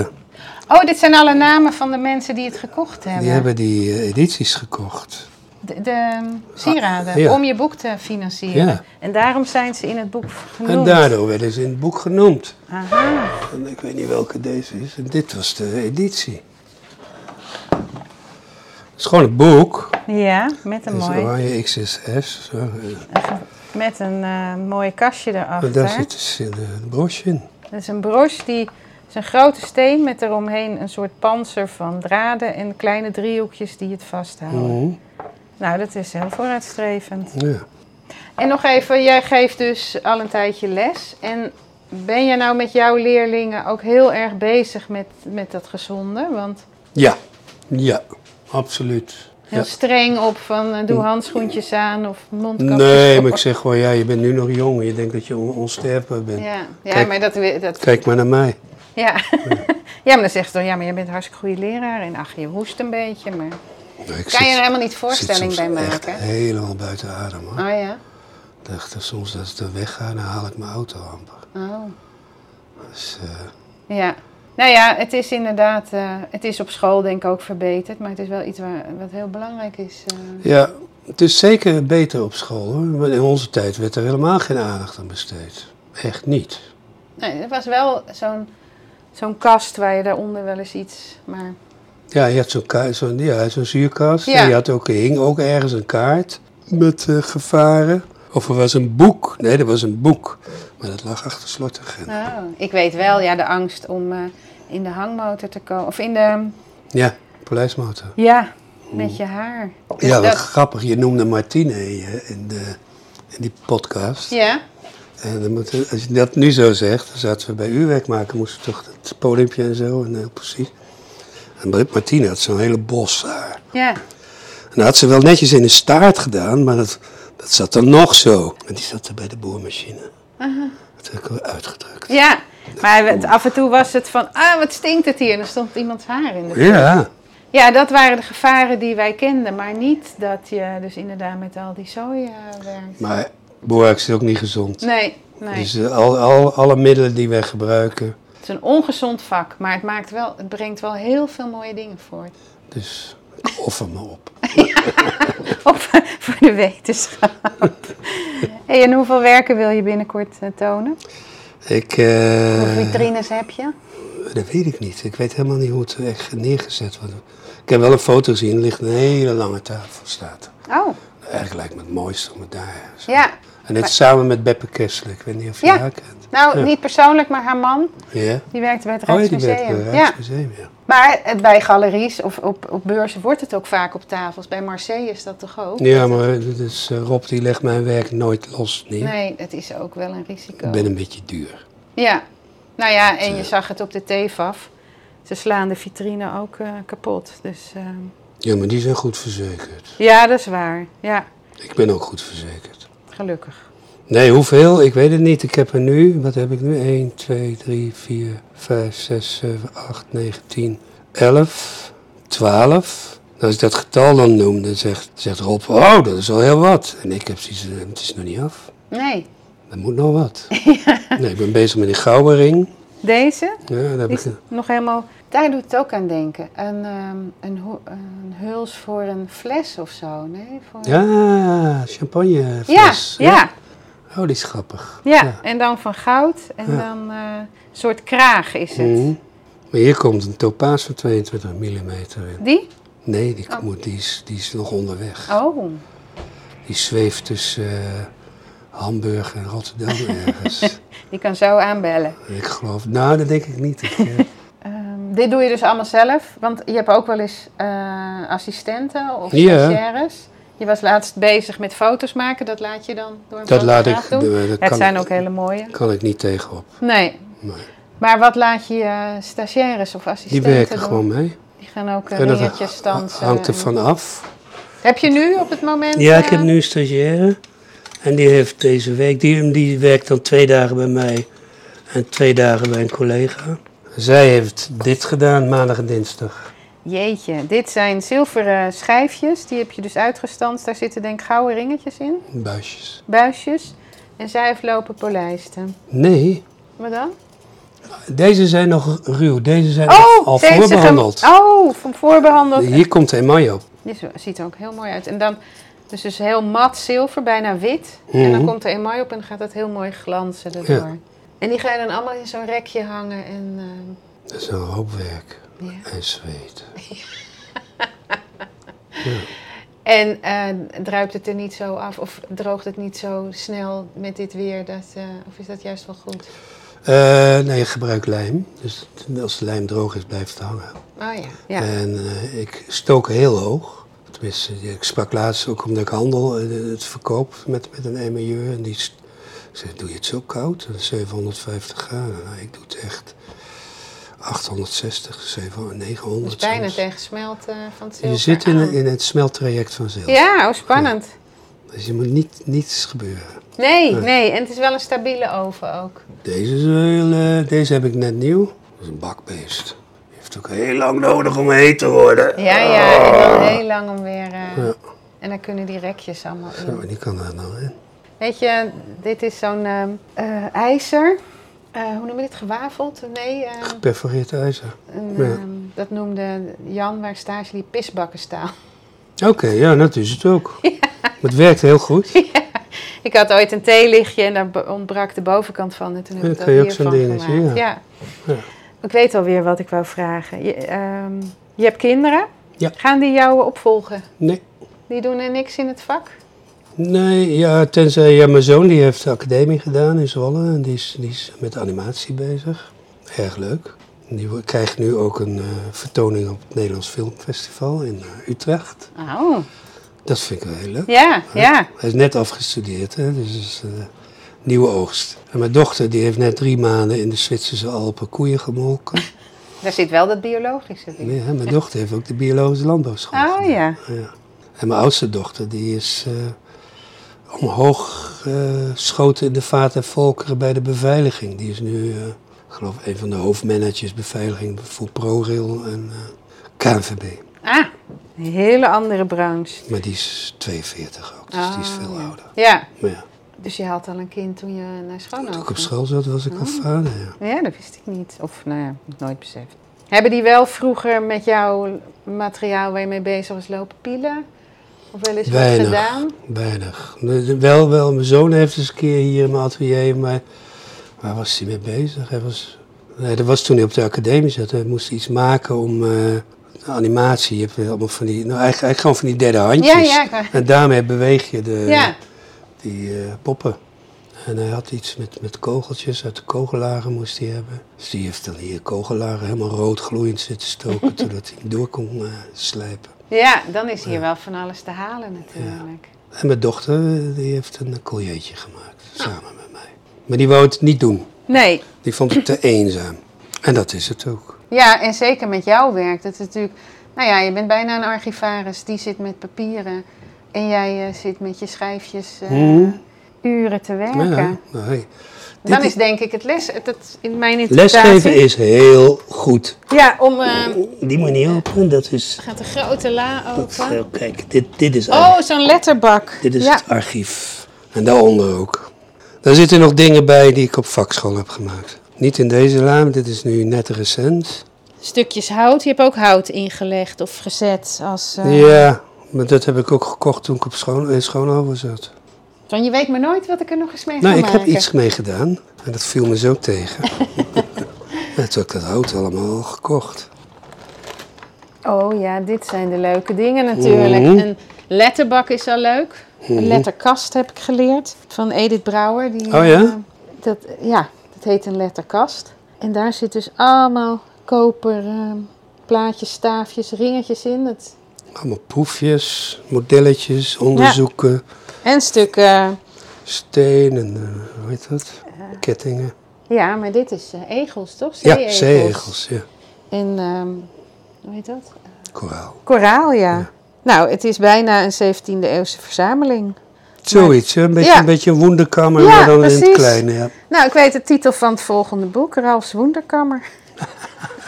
B: Oh, dit zijn alle namen van de mensen die het gekocht hebben.
A: die hebben die eh, edities gekocht.
B: De, de, um, sieraden,
A: Ah, ja.
B: om je boek te financieren.
A: Ja.
B: En daarom zijn ze in het boek genoemd.
A: En daardoor werden ze in het boek genoemd.
B: Aha.
A: En ik weet niet welke deze is. En dit was de editie. Het is gewoon een boek.
B: Ja, met een,
A: Het is
B: mooi,
A: oranje XSS. Zo. eh,
B: met een eh, mooi kastje
A: Maar
B: erachter.
A: daar zit dus een broosje in.
B: Dat is een broche die is een grote steen met eromheen een soort panzer van draden en kleine driehoekjes die het vasthouden.
A: Mhm.
B: Nou, dat is heel vooruitstrevend.
A: Ja.
B: En nog even, jij geeft dus al een tijdje les. En ben jij nou met jouw leerlingen ook heel erg bezig met, met dat gezonde? Want
A: ja, ja, absoluut.
B: heel
A: Ja.
B: streng op van eh, doe handschoentjes aan of mondkapjes
A: Nee,
B: op.
A: maar ik zeg gewoon, ja, je bent nu nog jong. en Je denkt dat je on- onsterfbaar bent.
B: Ja, ja
A: Kijk.
B: maar dat... we- dat
A: Kijk maar naar mij.
B: ja. ja, maar dan zegt ze dan, ja, maar je bent een hartstikke goede leraar. En ach, je hoest een beetje, maar...
A: Ik
B: Kan je er
A: zit-
B: helemaal niet voorstelling
A: zit
B: bij
A: soms
B: maken?
A: Echt helemaal buiten adem. Hoor.
B: Oh ja?
A: Ik dacht eh, soms dat ik er wegga, dan haal ik mijn auto amper.
B: Oh.
A: Dus, eh,
B: Ja. Nou ja, het is inderdaad... eh, het is op school denk ik ook verbeterd. Maar het is wel iets waar, wat heel belangrijk is. eh.
A: ja, het is zeker beter op school hoor. Maar in onze tijd werd er helemaal geen aandacht aan besteed. Echt niet.
B: Nee, er was wel zo'n zo'n kast waar je daaronder wel eens iets... Maar
A: Ja, je had zo'n ka- zo'n- ja, zo'n zuurkast.
B: Ja.
A: En je had ook, er hing ook ergens een kaart met eh, gevaren. Of er was een boek. Nee, er was een boek. Maar dat lag achter slot en grendel.
B: oh, ik weet wel, ja, de angst om eh, in de hangmotor te komen. Of in de...
A: Ja, polijsmotor.
B: Ja, met je haar. Dus
A: Ja, wat
B: dat-
A: grappig. Je noemde Martine eh, in, de, in die podcast.
B: Ja?
A: En dan moeten- als je dat nu zo zegt, dan zaten we bij uurwerk maken, moesten we toch het podiumpje en zo, en heel precies. En Martine had zo'n hele bos haar.
B: Ja.
A: En dat had ze wel netjes in een staart gedaan, maar dat, dat zat er nog zo. En die zat er bij de boormachine. Dat heb ik wel uitgedrukt.
B: Ja. Maar het- af en toe was het van, ah, wat stinkt het hier? En er stond iemands haar in de
A: Ja,
B: Ja, dat waren de gevaren die wij kenden, maar niet dat je dus inderdaad met al die soja werkt.
A: maar boerwerk is ook niet gezond.
B: Nee, nee.
A: Dus eh, al, al, alle middelen die wij gebruiken,
B: Het is een ongezond vak, maar het, maakt wel, het brengt wel heel veel mooie dingen voort.
A: dus ik offer me op.
B: Ook voor de wetenschap. Hey, en hoeveel werken wil je binnenkort eh, tonen?
A: Ik,
B: Hoeveel
A: eh
B: vitrines heb je?
A: Dat weet ik niet. Ik weet helemaal niet hoe het echt neergezet wordt. Ik heb wel een foto gezien, er ligt een hele lange tafel staat. er.
B: Oh,
A: Eigenlijk lijkt me het mooiste om het daar. zo.
B: ja.
A: En dit samen met Beppe Kessler, ik weet niet of je
B: Ja.
A: haar kent.
B: Nou,
A: Ja.
B: niet persoonlijk, maar haar man,
A: Ja?
B: die werkt bij het
A: Oh ja, die werkt
B: Rijksmuseum.
A: bij het
B: ja.
A: Rijksmuseum, ja.
B: Maar het- bij galeries of op, op beurzen wordt het ook vaak op tafels. Bij Marseille is dat toch ook?
A: Ja, maar dit is, eh, Rob die legt mijn werk nooit los neer.
B: Nee, het is ook wel een risico.
A: Ik ben een beetje duur.
B: Ja, nou ja, en je zag het op de TVAF. Ze slaan de vitrine ook eh, kapot. Dus ehm,
A: Ja, maar die zijn goed verzekerd.
B: ja, dat is waar. Ja.
A: Ik ben ook goed verzekerd.
B: Gelukkig.
A: Nee, hoeveel? Ik weet het niet. Ik heb er nu, wat heb ik nu? 1, 2, 3, 4, 5, 6, 7, 8, 9, 10, 11, 12. Nou, Als ik dat getal dan noem, dan zegt, zegt Rob, oh, dat is al heel wat. En ik heb zoiets, eh, het is nog niet af.
B: Nee.
A: Er moet nog wat. Nee, ik ben bezig met die gouden ring.
B: Deze?
A: Ja, daar heb
B: Die
A: ik,
B: is nog helemaal... Daar doet het ook aan denken. Een, ehm, een, ho- een huls voor een fles of zo. Nee, voor...
A: ja, champagne.
B: Ja, ja,
A: Oh, die is grappig.
B: ja.
A: Ja.
B: En dan van goud. En
A: Ja.
B: dan eh, een soort kraag is het.
A: Mhm. Maar hier komt een topaas van 22 mm in.
B: Die?
A: Nee, die,
B: Oh.
A: moet, die, is, die is nog onderweg.
B: Oh.
A: Die zweeft tussen eh, Hamburg en Rotterdam ergens.
B: Die kan zo aanbellen.
A: ik geloof, nou dat denk ik niet. Ik, eh,
B: Ehm, dit doe je dus allemaal zelf, want je hebt ook wel eens eh, assistenten of
A: Ja.
B: stagiaires. Je was laatst bezig met foto's maken, dat laat je dan door een
A: dat laat
B: fotograaf
A: ik,
B: doen.
A: eh, dat
B: het
A: kan,
B: zijn
A: ik-
B: ook hele mooie.
A: kan ik niet tegenop.
B: Nee,
A: Nee.
B: maar wat laat je je stagiaires of
A: Die
B: assistenten
A: werken
B: doen?
A: gewoon mee.
B: Die gaan ook eh,
A: En dat
B: ringetjes dansen.
A: hangt er
B: en-
A: van af.
B: Heb je nu op het moment...
A: Ja, ik
B: eh,
A: heb nu een stagiaire. En die heeft deze week, die, die werkt dan twee dagen bij mij en twee dagen bij een collega. Zij heeft dit gedaan maandag en dinsdag.
B: Jeetje, dit zijn zilveren schijfjes. Die heb je dus uitgestanst. Daar zitten denk ik gouden ringetjes in,
A: Buisjes.
B: buisjes. En zij heeft lopen polijsten.
A: Nee,
B: Wat dan?
A: deze zijn nog ruw. Deze zijn
B: Oh,
A: al
B: ze heeft zich
A: voorbehandeld.
B: hem- oh, van voorbehandeld.
A: Hier komt de emaille op.
B: Die is- ziet er ook heel mooi uit. En dan, dus, dus heel mat zilver, bijna wit. En dan
A: Mhm.
B: komt er emaille op en dan gaat dat heel mooi glanzen erdoor.
A: Ja.
B: En die ga je dan allemaal in zo'n rekje hangen. En, eh,
A: Dat is een hoop werk.
B: ja.
A: En zweet.
B: en eh, druipt het er niet zo af of droogt het niet zo snel met dit weer? Dat, eh, of is dat juist wel goed?
A: Eh, nee, ik gebruik lijm. Dus als de lijm droog is, blijft het hangen.
B: Oh ja, ja.
A: En eh, ik stook heel hoog. Tenminste, ik sprak laatst ook omdat ik handel, eh, het verkoop met, met een emailleur. En die st- zei, doe je het zo koud? Dat is 750 graden. Nou, ik doe het echt 860, 700,
B: dus
A: 900.
B: bijna
A: soms.
B: tegen smelt eh, van het zilver
A: Je zit in,
B: aan.
A: in het smelttraject van zilver.
B: Ja, oh, spannend.
A: Dus je moet niet, niets gebeuren.
B: Nee, nee. En het is wel een stabiele oven ook.
A: Deze, is heel, eh, deze heb ik net nieuw. Dat is een bakbeest. Die heeft ook heel lang nodig om heet te worden.
B: Ja, ja, en dan heel lang om weer. eh,
A: Ah. Ja.
B: En dan kunnen die rekjes allemaal
A: Zo,
B: in.
A: die kan daar nou in.
B: Weet je, dit is zo'n eh, eh, ijzer. Eh, hoe noem je dit? Gewafeld? Nee, eh,
A: Geperforeerd ijzer.
B: een,
A: Ja.
B: eh, dat noemde Jan waar stage liep pisbakkenstaal.
A: Oké, ja, dat is het ook. Maar Het werkt heel goed. Dan
B: Ik had ooit een theelichtje en daar be- ontbrak de bovenkant van. En toen heb
A: Ja,
B: ik dat
A: kan je ook
B: hiervan
A: zo'n dingetje,
B: gemaakt.
A: ja. Ja.
B: Ik weet alweer wat ik wou vragen. Je, ehm, je hebt kinderen.
A: Ja.
B: Gaan die jou opvolgen?
A: Nee.
B: Die doen er niks in het vak?
A: Nee, ja, tenzij ja, mijn zoon die heeft de academie gedaan in Zwolle. En die is, die is met animatie bezig. Erg leuk. En Die wo- krijgt nu ook een eh, vertoning op het Nederlands Filmfestival in eh, Utrecht.
B: Oh,
A: Dat vind ik wel heel leuk.
B: ja, ja.
A: Hij is net afgestudeerd, hè? dus het is eh, nieuwe oogst. En mijn dochter die heeft net drie maanden in de Zwitserse Alpen koeien gemolken.
B: Daar zit wel dat biologische in.
A: Nee, hè, mijn dochter heeft ook de biologische landbouwschool
B: Oh
A: gedaan.
B: ja.
A: Ja. En mijn oudste dochter, die is eh, omhoog eh, geschoten in de vaat en volkeren bij de beveiliging. Die is nu, eh, ik geloof, een van de hoofdmanagers beveiliging voor ProRail en eh, KNVB.
B: Ah, een hele andere branche.
A: Maar die is 42 ook, dus die is
B: Ah,
A: veel
B: ja.
A: ouder.
B: Ja,
A: Maar ja,
B: dus je had al een kind toen je naar school
A: toen ik op
B: ging?
A: school zat, was ik al
B: Oh.
A: vader. Ja.
B: Ja, dat wist ik niet. Of nou ja, heb ik nooit beseft. Hebben die wel vroeger met jouw materiaal waar je mee bezig was lopen pielen? Of wel eens wat
A: Weinig.
B: gedaan?
A: Weinig. De- de- Wel, wel, mijn zoon heeft eens een keer hier in mijn atelier, maar waar was hij mee bezig? Hij was, nee, dat was toen hij op de academie zat. Hij moest iets maken om eh, animatie. Je hebt weer allemaal van die, nou, eigenlijk, eigenlijk gewoon van die derde handjes.
B: Ja, ja. ik-
A: En daarmee beweeg je de,
B: Ja,
A: die eh, poppen. En hij had iets met, met kogeltjes, uit de kogelaren moest hij hebben. Dus die heeft dan hier kogelaren helemaal rood gloeiend zitten stoken, totdat hij hem door kon eh, slijpen.
B: ja, dan is hier wel van alles te halen natuurlijk.
A: En mijn dochter eh, die heeft een colliertje gemaakt,
B: Ah.
A: samen met mij. Maar die wou het niet doen.
B: Nee,
A: Die vond het te eenzaam. En dat is het ook.
B: ja, en zeker met jouw werk. Dat is natuurlijk, nou ja, je bent bijna een archivaris. Die zit met papieren en jij eh, zit met je schijfjes. eh,
A: Mhm.
B: uren te werken.
A: Ja, nou, nee. Dit
B: Dan is denk ik het les, het, het- in mijn interpretatie...
A: Lesgeven is heel goed.
B: Ja, om... eh,
A: Die moet niet open, dat is...
B: gaat de grote la
A: Dat,
B: open.
A: kijk, dit, dit is,
B: Oh, zo'n letterbak.
A: dit is
B: ja.
A: het archief. En daaronder ook. Daar zitten nog dingen bij die ik op vakschool heb gemaakt. Niet in deze laam, dit is nu net recent.
B: Stukjes hout. Je hebt ook hout ingelegd of gezet. Als, eh,
A: Ja, maar dat heb ik ook gekocht toen ik op schoon, in Schoonhoven zat.
B: Van je weet maar nooit wat ik er nog eens mee
A: Nou,
B: ga
A: ik heb
B: maken.
A: iets mee gedaan en dat viel me zo tegen. En toen heb ik dat hout allemaal gekocht.
B: Oh ja, dit zijn de leuke dingen natuurlijk.
A: Mhm.
B: Een letterbak is al leuk. Een letterkast heb ik geleerd van Edith Brouwer. Die,
A: Mm-hmm. Oh ja?
B: eh, dat, ja, dat heet een letterkast. En daar zit dus allemaal koper eh, plaatjes, staafjes, ringetjes in. Het,
A: Allemaal proefjes, modelletjes, onderzoeken.
B: en stukken.
A: Steen en eh, hoe heet dat? Kettingen.
B: Ja, maar dit is eh, egels toch?
A: Ja, zeeegels, ja.
B: En ehm, hoe heet dat?
A: Koraal.
B: Koraal, ja. Nou, het is bijna een 17e eeuwse verzameling.
A: Zoiets, hè? Een beetje,
B: Ja.
A: een beetje een woenderkammer,
B: Ja,
A: maar dan in
B: precies.
A: het kleine. Ja.
B: Nou, ik weet de titel van het volgende boek, Ralfs Wonderkammer.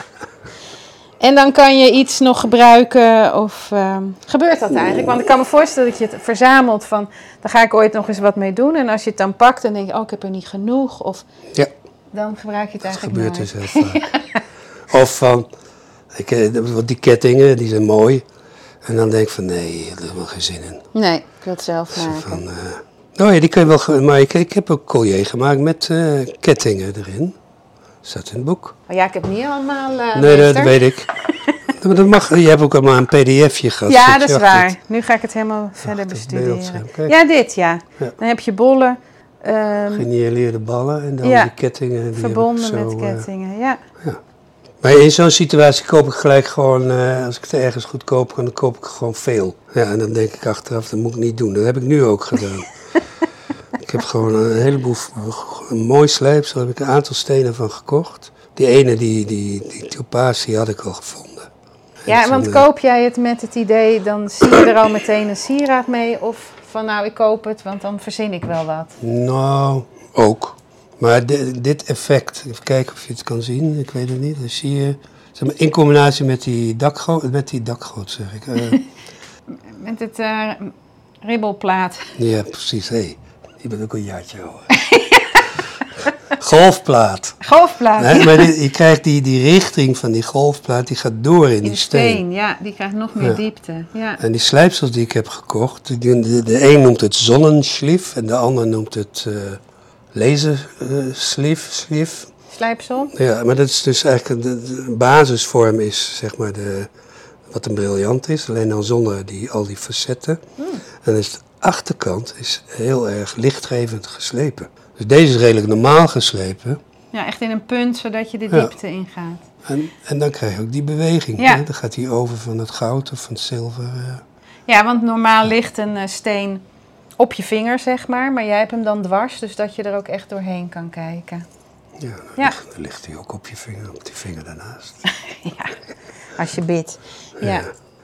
B: en dan kan je iets nog gebruiken of... ehm, gebeurt dat eigenlijk? Want ik kan me voorstellen dat je het verzamelt van... daar ga ik ooit nog eens wat mee doen. En als je het dan pakt, dan denk je, oh, ik heb er niet genoeg. Of
A: Ja.
B: dan gebruik je het
A: Dat
B: eigenlijk
A: gebeurt dus
B: nooit.
A: heel vaak. Of van, ik, eh, want die kettingen, die zijn mooi. En dan denk ik van, nee, daar heb ik helemaal geen zin in.
B: Nee, ik wil het zelf maken.
A: Van, eh, nou ja, die kun je wel, ge- maar ik, ik heb ook collier gemaakt met eh, kettingen erin. Staat in het boek.
B: Oh, ja, ik heb niet allemaal... eh,
A: nee, dat,
B: meester.
A: weet ik. Maar dat mag, je hebt ook allemaal een pdfje gehad.
B: Ja,
A: Ik
B: dat is
A: zag
B: waar.
A: het.
B: Nu ga ik het helemaal verder
A: dat
B: bestuderen.
A: beeldscherm, kijk.
B: Ja, dit ja.
A: Ja.
B: Dan heb je bollen ehm,
A: Genialeerde ballen en dan
B: Ja.
A: die kettingen. die heb ik
B: verbonden
A: zo,
B: met
A: eh,
B: kettingen. Ja.
A: Maar in zo'n situatie koop ik gelijk gewoon, eh, als ik het ergens goed koop, dan koop ik gewoon veel. Ja, en dan denk ik achteraf, dat moet ik niet doen. Dat heb ik nu ook gedaan. ik heb gewoon een heleboel, v- een mooi slijpsel, daar heb ik een aantal stenen van gekocht. Die ene, die, die, die topaas, die had ik al gevonden.
B: ja,
A: En
B: want
A: toen, eh,
B: koop jij het met het idee, dan zie je er al meteen een sieraad mee. Of van nou, ik koop het, want dan verzin ik wel wat.
A: Nou, ook. Maar di- dit effect, even kijken of je het kan zien, ik weet het niet. Dan zie je, zeg maar, in combinatie met die dakgoot, met die dakgoot zeg ik. eh,
B: Met het eh, ribbelplaat.
A: Ja, precies. Hé, je bent ook een jaartje ouder. golfplaat.
B: Golfplaat.
A: Hè? Maar dit- je krijgt die, die richting van die golfplaat, die gaat door in,
B: In
A: die
B: de
A: steen.
B: steen, ja, die krijgt nog meer
A: Ja.
B: diepte. Ja.
A: En die slijpsels die ik heb gekocht, die- die- de, de een noemt het zonnenschlief en de ander noemt het eh laserschlief. schlief.
B: Slijpsel.
A: Ja, maar dat is dus eigenlijk de, de basisvorm is, zeg maar, de, wat een briljant is. Alleen dan zonder die, al die facetten.
B: Hmm.
A: En dus de achterkant is heel erg lichtgevend geslepen. Dus deze is redelijk normaal geslepen.
B: Ja, echt in een punt, zodat je de
A: Ja.
B: diepte ingaat.
A: En, en dan krijg je ook die beweging.
B: Ja.
A: hè. Dan gaat die over van het goud of van het zilver. eh.
B: Ja, want normaal ligt een eh, steen op je vinger, zeg maar. Maar jij hebt hem dan dwars, dus dat je er ook echt doorheen kan kijken.
A: Ja, dan,
B: Ja.
A: Ligt, dan ligt die ook op je vinger, op die vinger daarnaast.
B: Ja, als je bidt. Ja.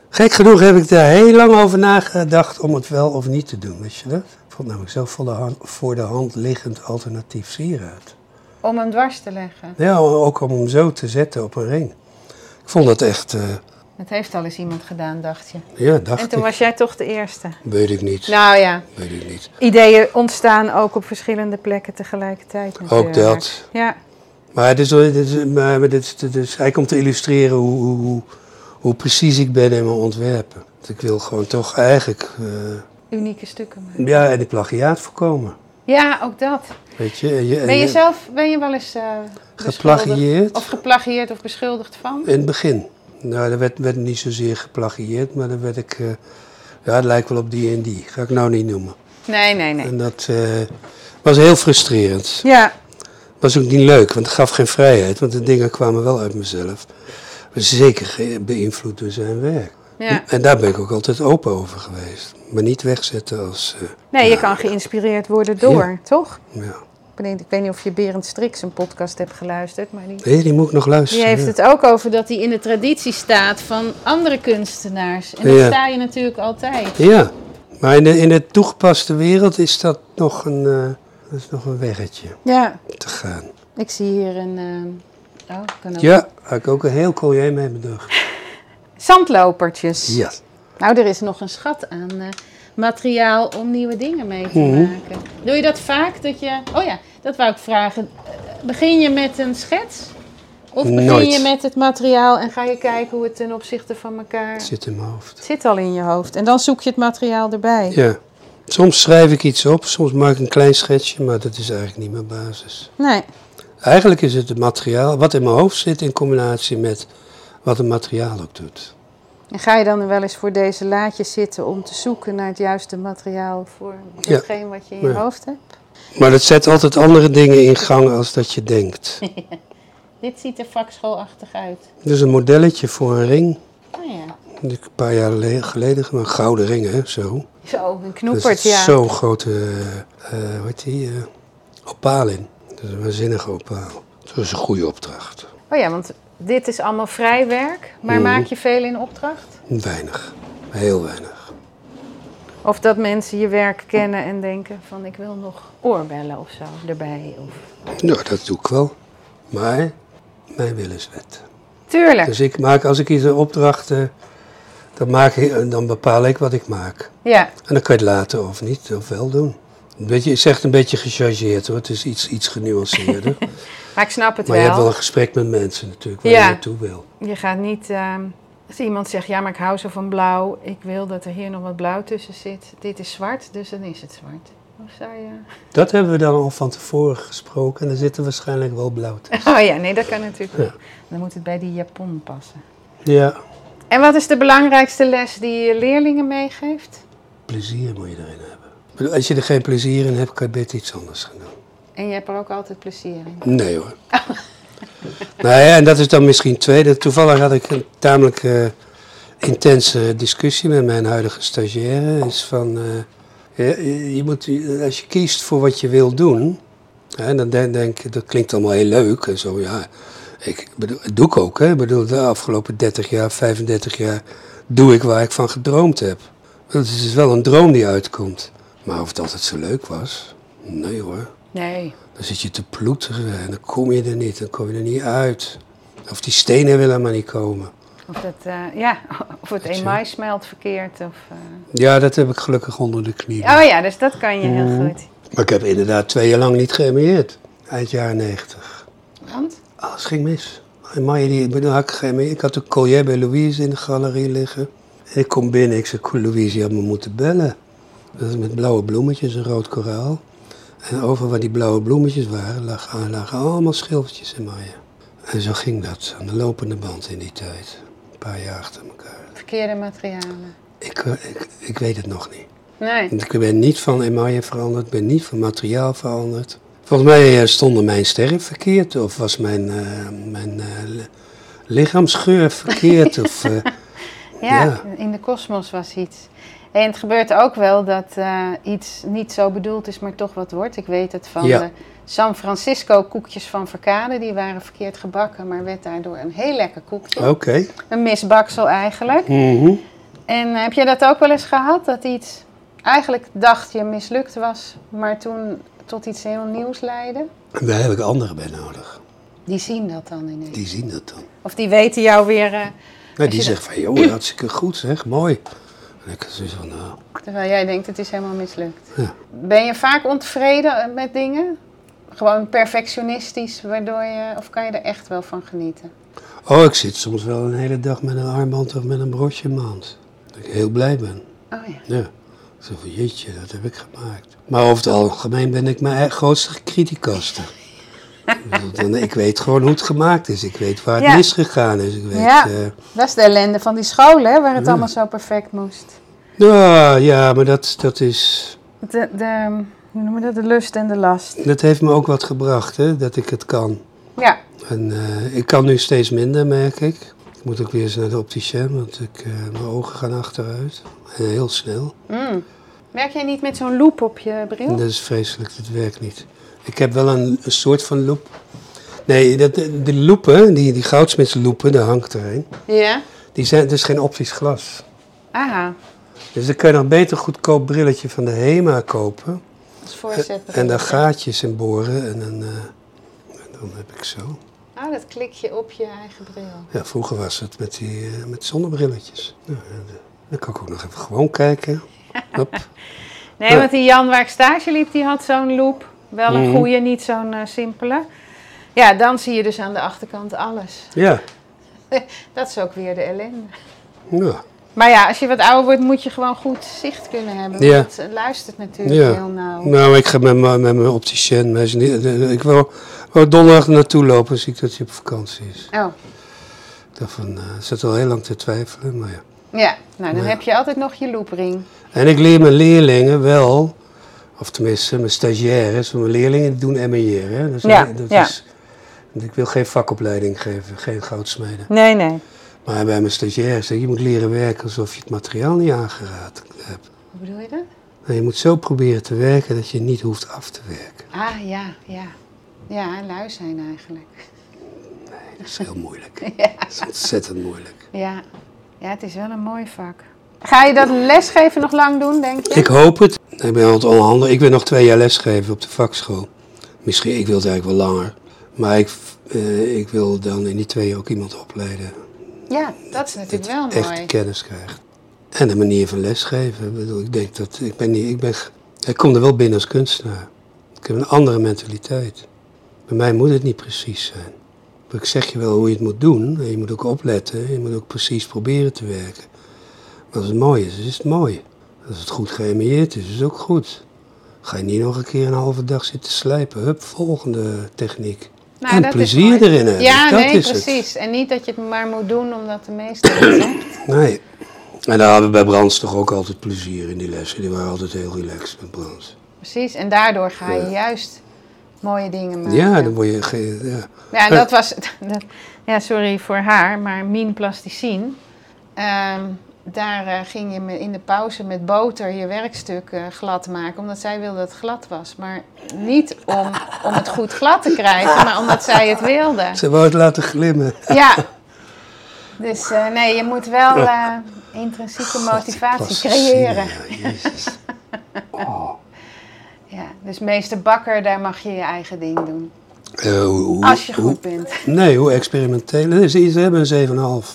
A: Gek genoeg heb ik daar heel lang over nagedacht om het wel of niet te doen, weet je dat? Ik vond namelijk zo voor de hand, voor de hand liggend alternatief sieraad.
B: Om hem dwars te leggen.
A: Ja, ook om hem zo te zetten op een ring. Ik vond dat echt, eh,
B: Dat heeft al eens iemand gedaan, dacht je.
A: ja, dacht
B: En toen
A: ik.
B: was jij toch de eerste.
A: Weet ik niet,
B: Nou ja,
A: weet ik niet.
B: ideeën ontstaan ook op verschillende plekken tegelijkertijd. natuurlijk.
A: dat.
B: Ja,
A: Maar het is, dit is, maar dit is, dit is eigenlijk om te illustreren hoe, hoe, hoe- hoe precies ik ben in mijn ontwerpen. Want ik wil gewoon toch eigenlijk, eh,
B: unieke stukken maken.
A: ja, en ik plagiaat voorkomen.
B: Ja, ook dat.
A: Weet je, en je, en
B: Ben je
A: je-
B: zelf ben je wel eens eh, beschuldigd?
A: geplagieerd?
B: Of geplagieerd of beschuldigd van?
A: In het begin. Nou, er werd, werd niet zozeer geplagieerd, maar dan werd ik. eh, ja, het lijkt wel op die en die. Ga ik nou niet noemen.
B: Nee, nee, nee.
A: En dat eh, was heel frustrerend.
B: Ja,
A: Was ook niet leuk, want het gaf geen vrijheid. Want de dingen kwamen wel uit mezelf. Maar zeker ge- beïnvloed door zijn werk.
B: ja.
A: En daar ben ik ook altijd open over geweest. Maar niet wegzetten als. eh,
B: Nee, je kan geïnspireerd worden door, toch?
A: ja.
B: Ik weet, ik weet niet of je Berend Strix een podcast hebt geluisterd, maar die,
A: Nee, die moet ik nog luisteren.
B: die heeft
A: ja.
B: het ook over dat hij in de traditie staat van andere kunstenaars. En dat
A: Ja.
B: sta je natuurlijk altijd.
A: Ja, Maar in de, in de toegepaste wereld is dat nog een, eh, dat is nog een weggetje
B: Ja,
A: te gaan.
B: ik zie hier een... eh, oh, kan ook.
A: Ja, had ik ook een heel collier mee bedacht.
B: Zandlopertjes.
A: Ja.
B: Nou, er is nog een schat aan eh, materiaal om nieuwe dingen mee te
A: Mhm.
B: maken. Doe je dat vaak? Dat je... Oh ja, dat wou ik vragen. Eh, Begin je met een schets? Of begin
A: Nooit.
B: je met het materiaal en ga je kijken hoe het ten opzichte van elkaar...
A: Het zit in mijn hoofd.
B: Het zit al in je hoofd. En dan zoek je het materiaal erbij.
A: Ja. Soms schrijf ik iets op, soms maak ik een klein schetsje, maar dat is eigenlijk niet mijn basis.
B: Nee.
A: Eigenlijk is het het materiaal, wat in mijn hoofd zit, in combinatie met wat het materiaal ook doet.
B: En ga je dan wel eens voor deze laadjes zitten om te zoeken naar het juiste materiaal voor
A: Ja.
B: hetgeen wat je in je
A: Ja.
B: hoofd hebt?
A: Maar dat zet altijd andere dingen in gang als dat je denkt.
B: Dit ziet er vakschoolachtig uit.
A: Dus een modelletje voor een ring,
B: Oh ja.
A: die ik een paar jaar le- geleden, gemaakt. een gouden ring hè, zo.
B: Zo, een
A: Dus
B: knoepert, ja.
A: zo'n grote, eh, eh, hoe heet die, eh, opaal in. Dat is een waanzinnige opaal. Dat is een goede opdracht.
B: Oh ja, want dit is allemaal vrij werk, maar
A: Mhm.
B: maak je veel in opdracht?
A: Weinig, heel weinig.
B: Of dat mensen je werk kennen en denken van ik wil nog oorbellen of zo erbij. Of...
A: Nou, dat doe ik wel. Maar mijn wil is wet.
B: Tuurlijk,
A: Dus ik maak, als ik iets een opdracht, eh, dan, maak ik, eh, dan bepaal ik wat ik maak.
B: ja.
A: En dan kan je het laten of niet, of wel doen. Een beetje, het is echt een beetje gechargeerd hoor, het is iets, iets genuanceerder.
B: Maar ik snap het
A: maar je
B: wel.
A: hebt wel een gesprek met mensen natuurlijk, waar
B: Ja.
A: je naartoe wil.
B: Je gaat niet. ehm, als iemand zegt, ja, maar ik hou zo van blauw. Ik wil dat er hier nog wat blauw tussen zit. Dit is zwart, dus dan is het zwart. Of zou je...
A: Dat hebben we dan al van tevoren gesproken en er zitten waarschijnlijk wel blauw tussen.
B: Oh ja, nee, dat kan natuurlijk
A: Ja.
B: niet. Dan moet het bij die Japon passen.
A: Ja,
B: En wat is de belangrijkste les die je leerlingen meegeeft?
A: plezier moet je erin hebben. Ik bedoel, Als je er geen plezier in hebt, kan je beter iets anders gaan doen.
B: En je hebt er ook altijd plezier in.
A: Nee hoor. nou ja, en dat is dan misschien tweede. Toevallig had ik een tamelijk eh, intense discussie met mijn huidige stagiaire. Is van, eh, ja, je, je moet, als je kiest voor wat je wil doen, hè, dan denk denk ik, dat klinkt allemaal heel leuk en zo, ja. Ik bedoel, dat doe ik ook, hè. Ik bedoel, de afgelopen 30 jaar, 35 jaar doe ik waar ik van gedroomd heb. Dat is dus wel een droom die uitkomt. Maar of het altijd zo leuk was? Nee hoor.
B: Nee.
A: Dan zit je te ploeteren en dan kom je er niet, dan kom je er niet uit. Of die stenen willen maar niet komen.
B: Of, dat, eh, ja, of het
A: Weet je.
B: email smelt verkeerd. Of, eh.
A: Ja, dat heb ik gelukkig onder de knie.
B: Oh ja, dus dat kan je heel goed.
A: Maar ik heb inderdaad twee jaar lang niet geëmieerd. Eind jaren negentig.
B: Want?
A: Alles Ah, ging mis. En Maya, die, ik bedoel, had ik, geëmieerd. ik had een collier bij Louise in de galerie liggen. En ik kom binnen, ik zeg, "Goh, Louise, je had me moeten bellen. Dat is met blauwe bloemetjes en rood koraal. En over waar die blauwe bloemetjes waren, lagen, lagen allemaal schilfertjes in Maya. En zo ging dat, aan de lopende band in die tijd. Een paar jaar achter elkaar.
B: Verkeerde materialen.
A: Ik, eh, ik, ik weet het nog niet.
B: Nee.
A: Want Ik ben niet van emaille veranderd, ik ben niet van materiaal veranderd. Volgens mij eh, stonden mijn sterren verkeerd, of was mijn, eh, mijn eh, li- lichaamsgeur verkeerd. of, eh,
B: Ja,
A: Ja.
B: in de kosmos was iets. En het gebeurt ook wel dat eh, iets niet zo bedoeld is, maar toch wat wordt. Ik weet het van
A: Ja.
B: de San Francisco koekjes van Verkade. Die waren verkeerd gebakken, maar werd daardoor een heel lekker koekje.
A: Oké.
B: Een misbaksel eigenlijk.
A: Mhm.
B: En eh, heb jij dat ook wel eens gehad? Dat iets eigenlijk dacht je mislukt was, maar toen tot iets heel nieuws leidde?
A: En Daar heb ik anderen bij nodig.
B: Die zien dat dan ineens.
A: Die zien dat dan.
B: Of die weten jou weer, eh,
A: Nou, die zeggen van, joh, hartstikke goed zeg, mooi. En ik zeg van, nou,
B: terwijl jij denkt het is helemaal mislukt.
A: Ja.
B: Ben je vaak ontevreden eh, met dingen? Gewoon perfectionistisch, waardoor je, of kan je er echt wel van genieten?
A: oh, ik zit soms wel een hele dag met een armband of met een broodje in mijn hand. Dat ik heel blij ben.
B: Oh ja.
A: Ja. Zo van, jeetje, dat heb ik gemaakt. Maar over het algemeen ben ik mijn eigen grootste criticaster. Ik bedoel, dan- ik weet gewoon hoe het gemaakt is. Ik weet waar het
B: Ja.
A: misgegaan is. Ik weet,
B: Ja.
A: eh,
B: Dat is de ellende van die school, hè, waar het allemaal zo perfect moest.
A: nou ja, maar dat, dat, is,
B: De, de, hoe noemen we dat? De lust en de last.
A: dat heeft me ook wat gebracht, hè, dat ik het kan.
B: Ja,
A: En eh, ik kan nu steeds minder, merk ik. Ik moet ook weer eens naar de opticien, want ik, eh, mijn ogen gaan achteruit. En heel snel.
B: Mm. Werk jij niet met zo'n loop op je bril?
A: En dat is vreselijk, dat werkt niet. Ik heb wel een, een soort van loep. Nee, dat, de, de loepen, die, die goudsmitsloepen, daar hangt er een.
B: Ja.
A: Die zijn, dat is geen optisch glas.
B: Aha.
A: Dus dan kun je nog beter goedkoop brilletje van de HEMA kopen.
B: Als voorzet.
A: En daar
B: dan
A: gaatjes in boren en dan, eh, dan heb ik zo.
B: Ah, dat klik je op je eigen bril.
A: Ja, vroeger was het met, die, eh, met zonnebrilletjes. Nou, ja, de- dan kan ik ook nog even gewoon kijken. Hup.
B: Nee,
A: Ja.
B: want die Jan waar ik stage liep, die had zo'n loop. Wel een
A: Eh. Mhm.
B: goede, niet zo'n eh, simpele. Ja, dan zie je dus aan de achterkant alles.
A: Ja,
B: Dat is ook weer de ellende.
A: ja.
B: Maar ja, als je wat ouder wordt, moet je gewoon goed zicht kunnen hebben.
A: Ja.
B: Want het luistert natuurlijk
A: Ja.
B: heel nauw.
A: Nou, ik ga met, mijn- met mijn opticien. maar hij is niet- Ik wil, wil donderdag naartoe lopen, zie ik dat hij op vakantie is.
B: Oh,
A: Ik dacht van, eh, ik zat al heel lang te twijfelen, maar ja.
B: ja. Nou, dan
A: Ja.
B: heb je altijd nog je loopring.
A: En ik leer mijn leerlingen wel, of tenminste mijn stagiaires, want mijn leerlingen doen MER. Hè? Dus
B: Ja,
A: dat
B: ja.
A: is- want ik wil geen vakopleiding geven, geen goudsmeden.
B: Nee, nee.
A: Maar bij mijn stagiaires zeg ik, je moet leren werken alsof je het materiaal niet aangeraakt hebt.
B: Hoe bedoel je dat?
A: Nou, je moet zo proberen te werken dat je niet hoeft af te werken.
B: Ah, ja, ja. Ja, lui zijn eigenlijk.
A: Dat is heel moeilijk.
B: Ja.
A: Dat is ontzettend moeilijk.
B: Ja. ja, het is wel een mooi vak. Ga je dat lesgeven nog lang doen, denk je?
A: Ik hoop het. Ik ben aan het onderhandelen. Ik wil nog twee jaar lesgeven op de vakschool. Misschien, ik wil het eigenlijk wel langer. Maar ik, eh, ik wil dan in die twee jaar ook iemand opleiden.
B: Ja, dat is natuurlijk wel
A: echt
B: mooi.
A: kennis krijgt. En de manier van lesgeven. Ik bedoel, ik denk dat, ik ben niet, ik ben, ge- ik kom er wel binnen als kunstenaar. Ik heb een andere mentaliteit. Bij mij moet het niet precies zijn. Maar Ik zeg je wel hoe je het moet doen. En je moet ook opletten. Je moet ook precies proberen te werken. Maar als het mooi is, is het mooi. Als het goed geëmieerd is, is het ook goed. Ga je niet nog een keer een halve dag zitten slijpen. Hup, volgende techniek.
B: Nou,
A: en
B: dat is
A: plezier
B: mooi.
A: erin hebben.
B: Ja,
A: dat
B: nee,
A: is het.
B: precies. En niet dat je het maar moet doen omdat de meeste het zegt.
A: Nee. En daar hadden we bij Brands toch ook altijd plezier in die lessen. Die waren altijd heel relaxed met Brands.
B: Precies. En daardoor ga je
A: Ja.
B: juist mooie dingen maken.
A: Ja, dan word je... ge- Ja.
B: Ja, en dat was. dat- ja, sorry voor haar, maar Mien Plasticien. ehm, daar eh, ging je me- in de pauze met boter je werkstuk eh, glad maken, omdat zij wilde dat het glad was. Maar niet om, om het goed glad te krijgen, maar omdat zij het wilde.
A: Ze wou het laten glimmen.
B: Ja. Dus eh, nee, je moet wel eh, intrinsieke motivatie
A: Plasticine,
B: creëren.
A: Ja, jezus. Oh.
B: Ja, dus meester Bakker, daar mag je je eigen ding doen.
A: Eh, hoe, hoe-
B: Als je
A: hoe-
B: goed bent.
A: Nee, hoe experimenteel. Nee, ze, ze hebben een 7,5.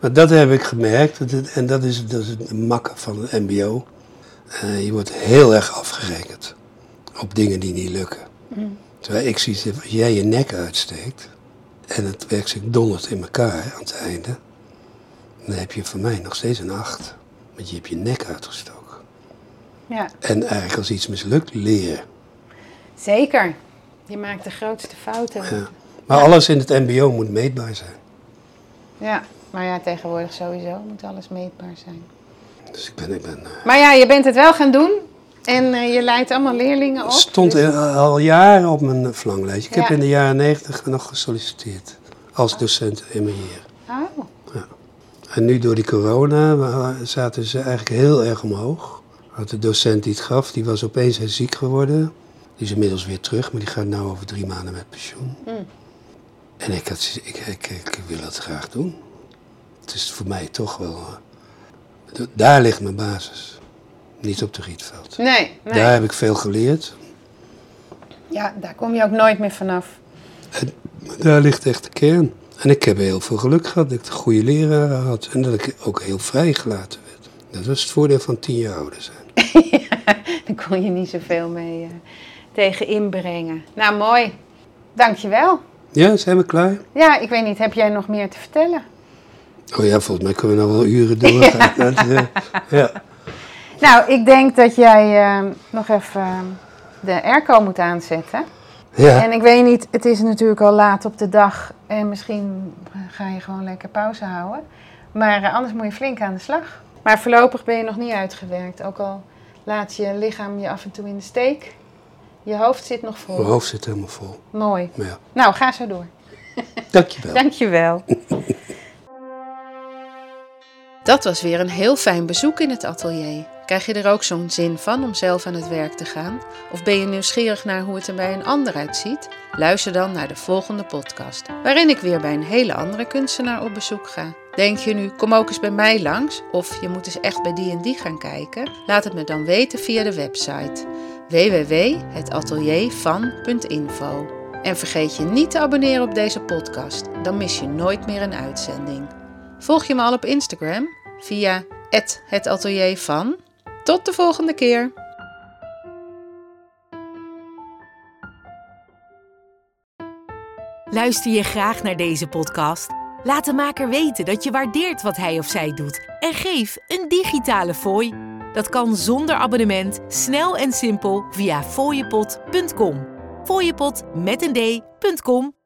A: Maar dat heb ik gemerkt. dat het- en dat is, dat is het makken van het mbo. Eh, je wordt heel erg afgerekend op dingen die niet lukken. Terwijl ik zie, als jij je nek uitsteekt... en het werkstuk dondert in elkaar aan het einde... dan heb je voor mij nog steeds een 8. Want je hebt je nek uitgestoken.
B: Ja,
A: En eigenlijk als iets mislukt, leren.
B: zeker. Je maakt de grootste fouten.
A: Ja. Maar alles in het mbo moet meetbaar zijn.
B: Ja, maar ja, tegenwoordig sowieso moet alles meetbaar zijn.
A: Dus ik ben... Ik ben eh,
B: Maar ja, je bent het wel gaan doen en eh, je leidt allemaal leerlingen op.
A: stond
B: dus-
A: in- al jaren op mijn verlanglijstje. Ik heb
B: Ja.
A: in de jaren negentig nog gesolliciteerd als docent emerier.
B: Oh,
A: En nu door die corona wa- zaten ze eigenlijk heel erg omhoog. Want de docent die het gaf, die was opeens heel ziek geworden. Die is inmiddels weer terug, maar die gaat nu over drie maanden met pensioen.
B: Mm.
A: En ik, had, zoiets- ik, ik, ik wil dat graag doen. Het is voor mij toch wel... eh, d- Daar ligt mijn basis. Niet op de Rietveld.
B: nee, nee.
A: Daar heb ik veel geleerd.
B: Ja, daar kom je ook nooit meer vanaf.
A: Daar ligt echt de kern. En ik heb heel veel geluk gehad dat ik de goede leraren had. En dat ik ook heel vrijgelaten werd. Dat was het voordeel van tien jaar ouder zijn.
B: Daar kon je niet zoveel mee eh, tegen inbrengen. Nou, mooi. Dankjewel.
A: Ja, zijn we klaar?
B: Ja, ik weet niet, heb jij nog meer te vertellen?
A: Oh ja, volgens mij kunnen we nog wel uren doorgaan. Dat, eh, ja.
B: Nou, ik denk dat jij eh, nog even eh, de airco moet aanzetten.
A: Ja.
B: En ik weet niet, het is natuurlijk al laat op de dag en misschien ga je gewoon lekker pauze houden. Maar eh, anders moet je flink aan de slag. Maar voorlopig ben je nog niet uitgewerkt, ook al laat je lichaam je af en toe in de steek. Je hoofd zit nog vol.
A: Mijn hoofd zit helemaal vol.
B: Mooi.
A: Maar ja,
B: Nou, ga zo door.
A: dankjewel.
B: Dankjewel. Dat was weer een heel fijn bezoek in het atelier. Krijg je er ook zo'n zin van om zelf aan het werk te gaan? Of ben je nieuwsgierig naar hoe het er bij een ander uitziet? Luister dan naar de volgende podcast, waarin ik weer bij een hele andere kunstenaar op bezoek ga. Denk je nu, kom ook eens bij mij langs of je moet eens echt bij die en die gaan kijken? Laat het me dan weten via de website www.hetateliervan.info. En vergeet je niet te abonneren op deze podcast, dan mis je nooit meer een uitzending. Volg je me al op Instagram via @hetateliervan. Tot de volgende keer.
C: Luister je graag naar deze podcast? Laat de maker weten dat je waardeert wat hij of zij doet en geef een digitale fooi. Dat kan zonder abonnement, snel en simpel via fooiepot.com. Fooiepot met een d.com.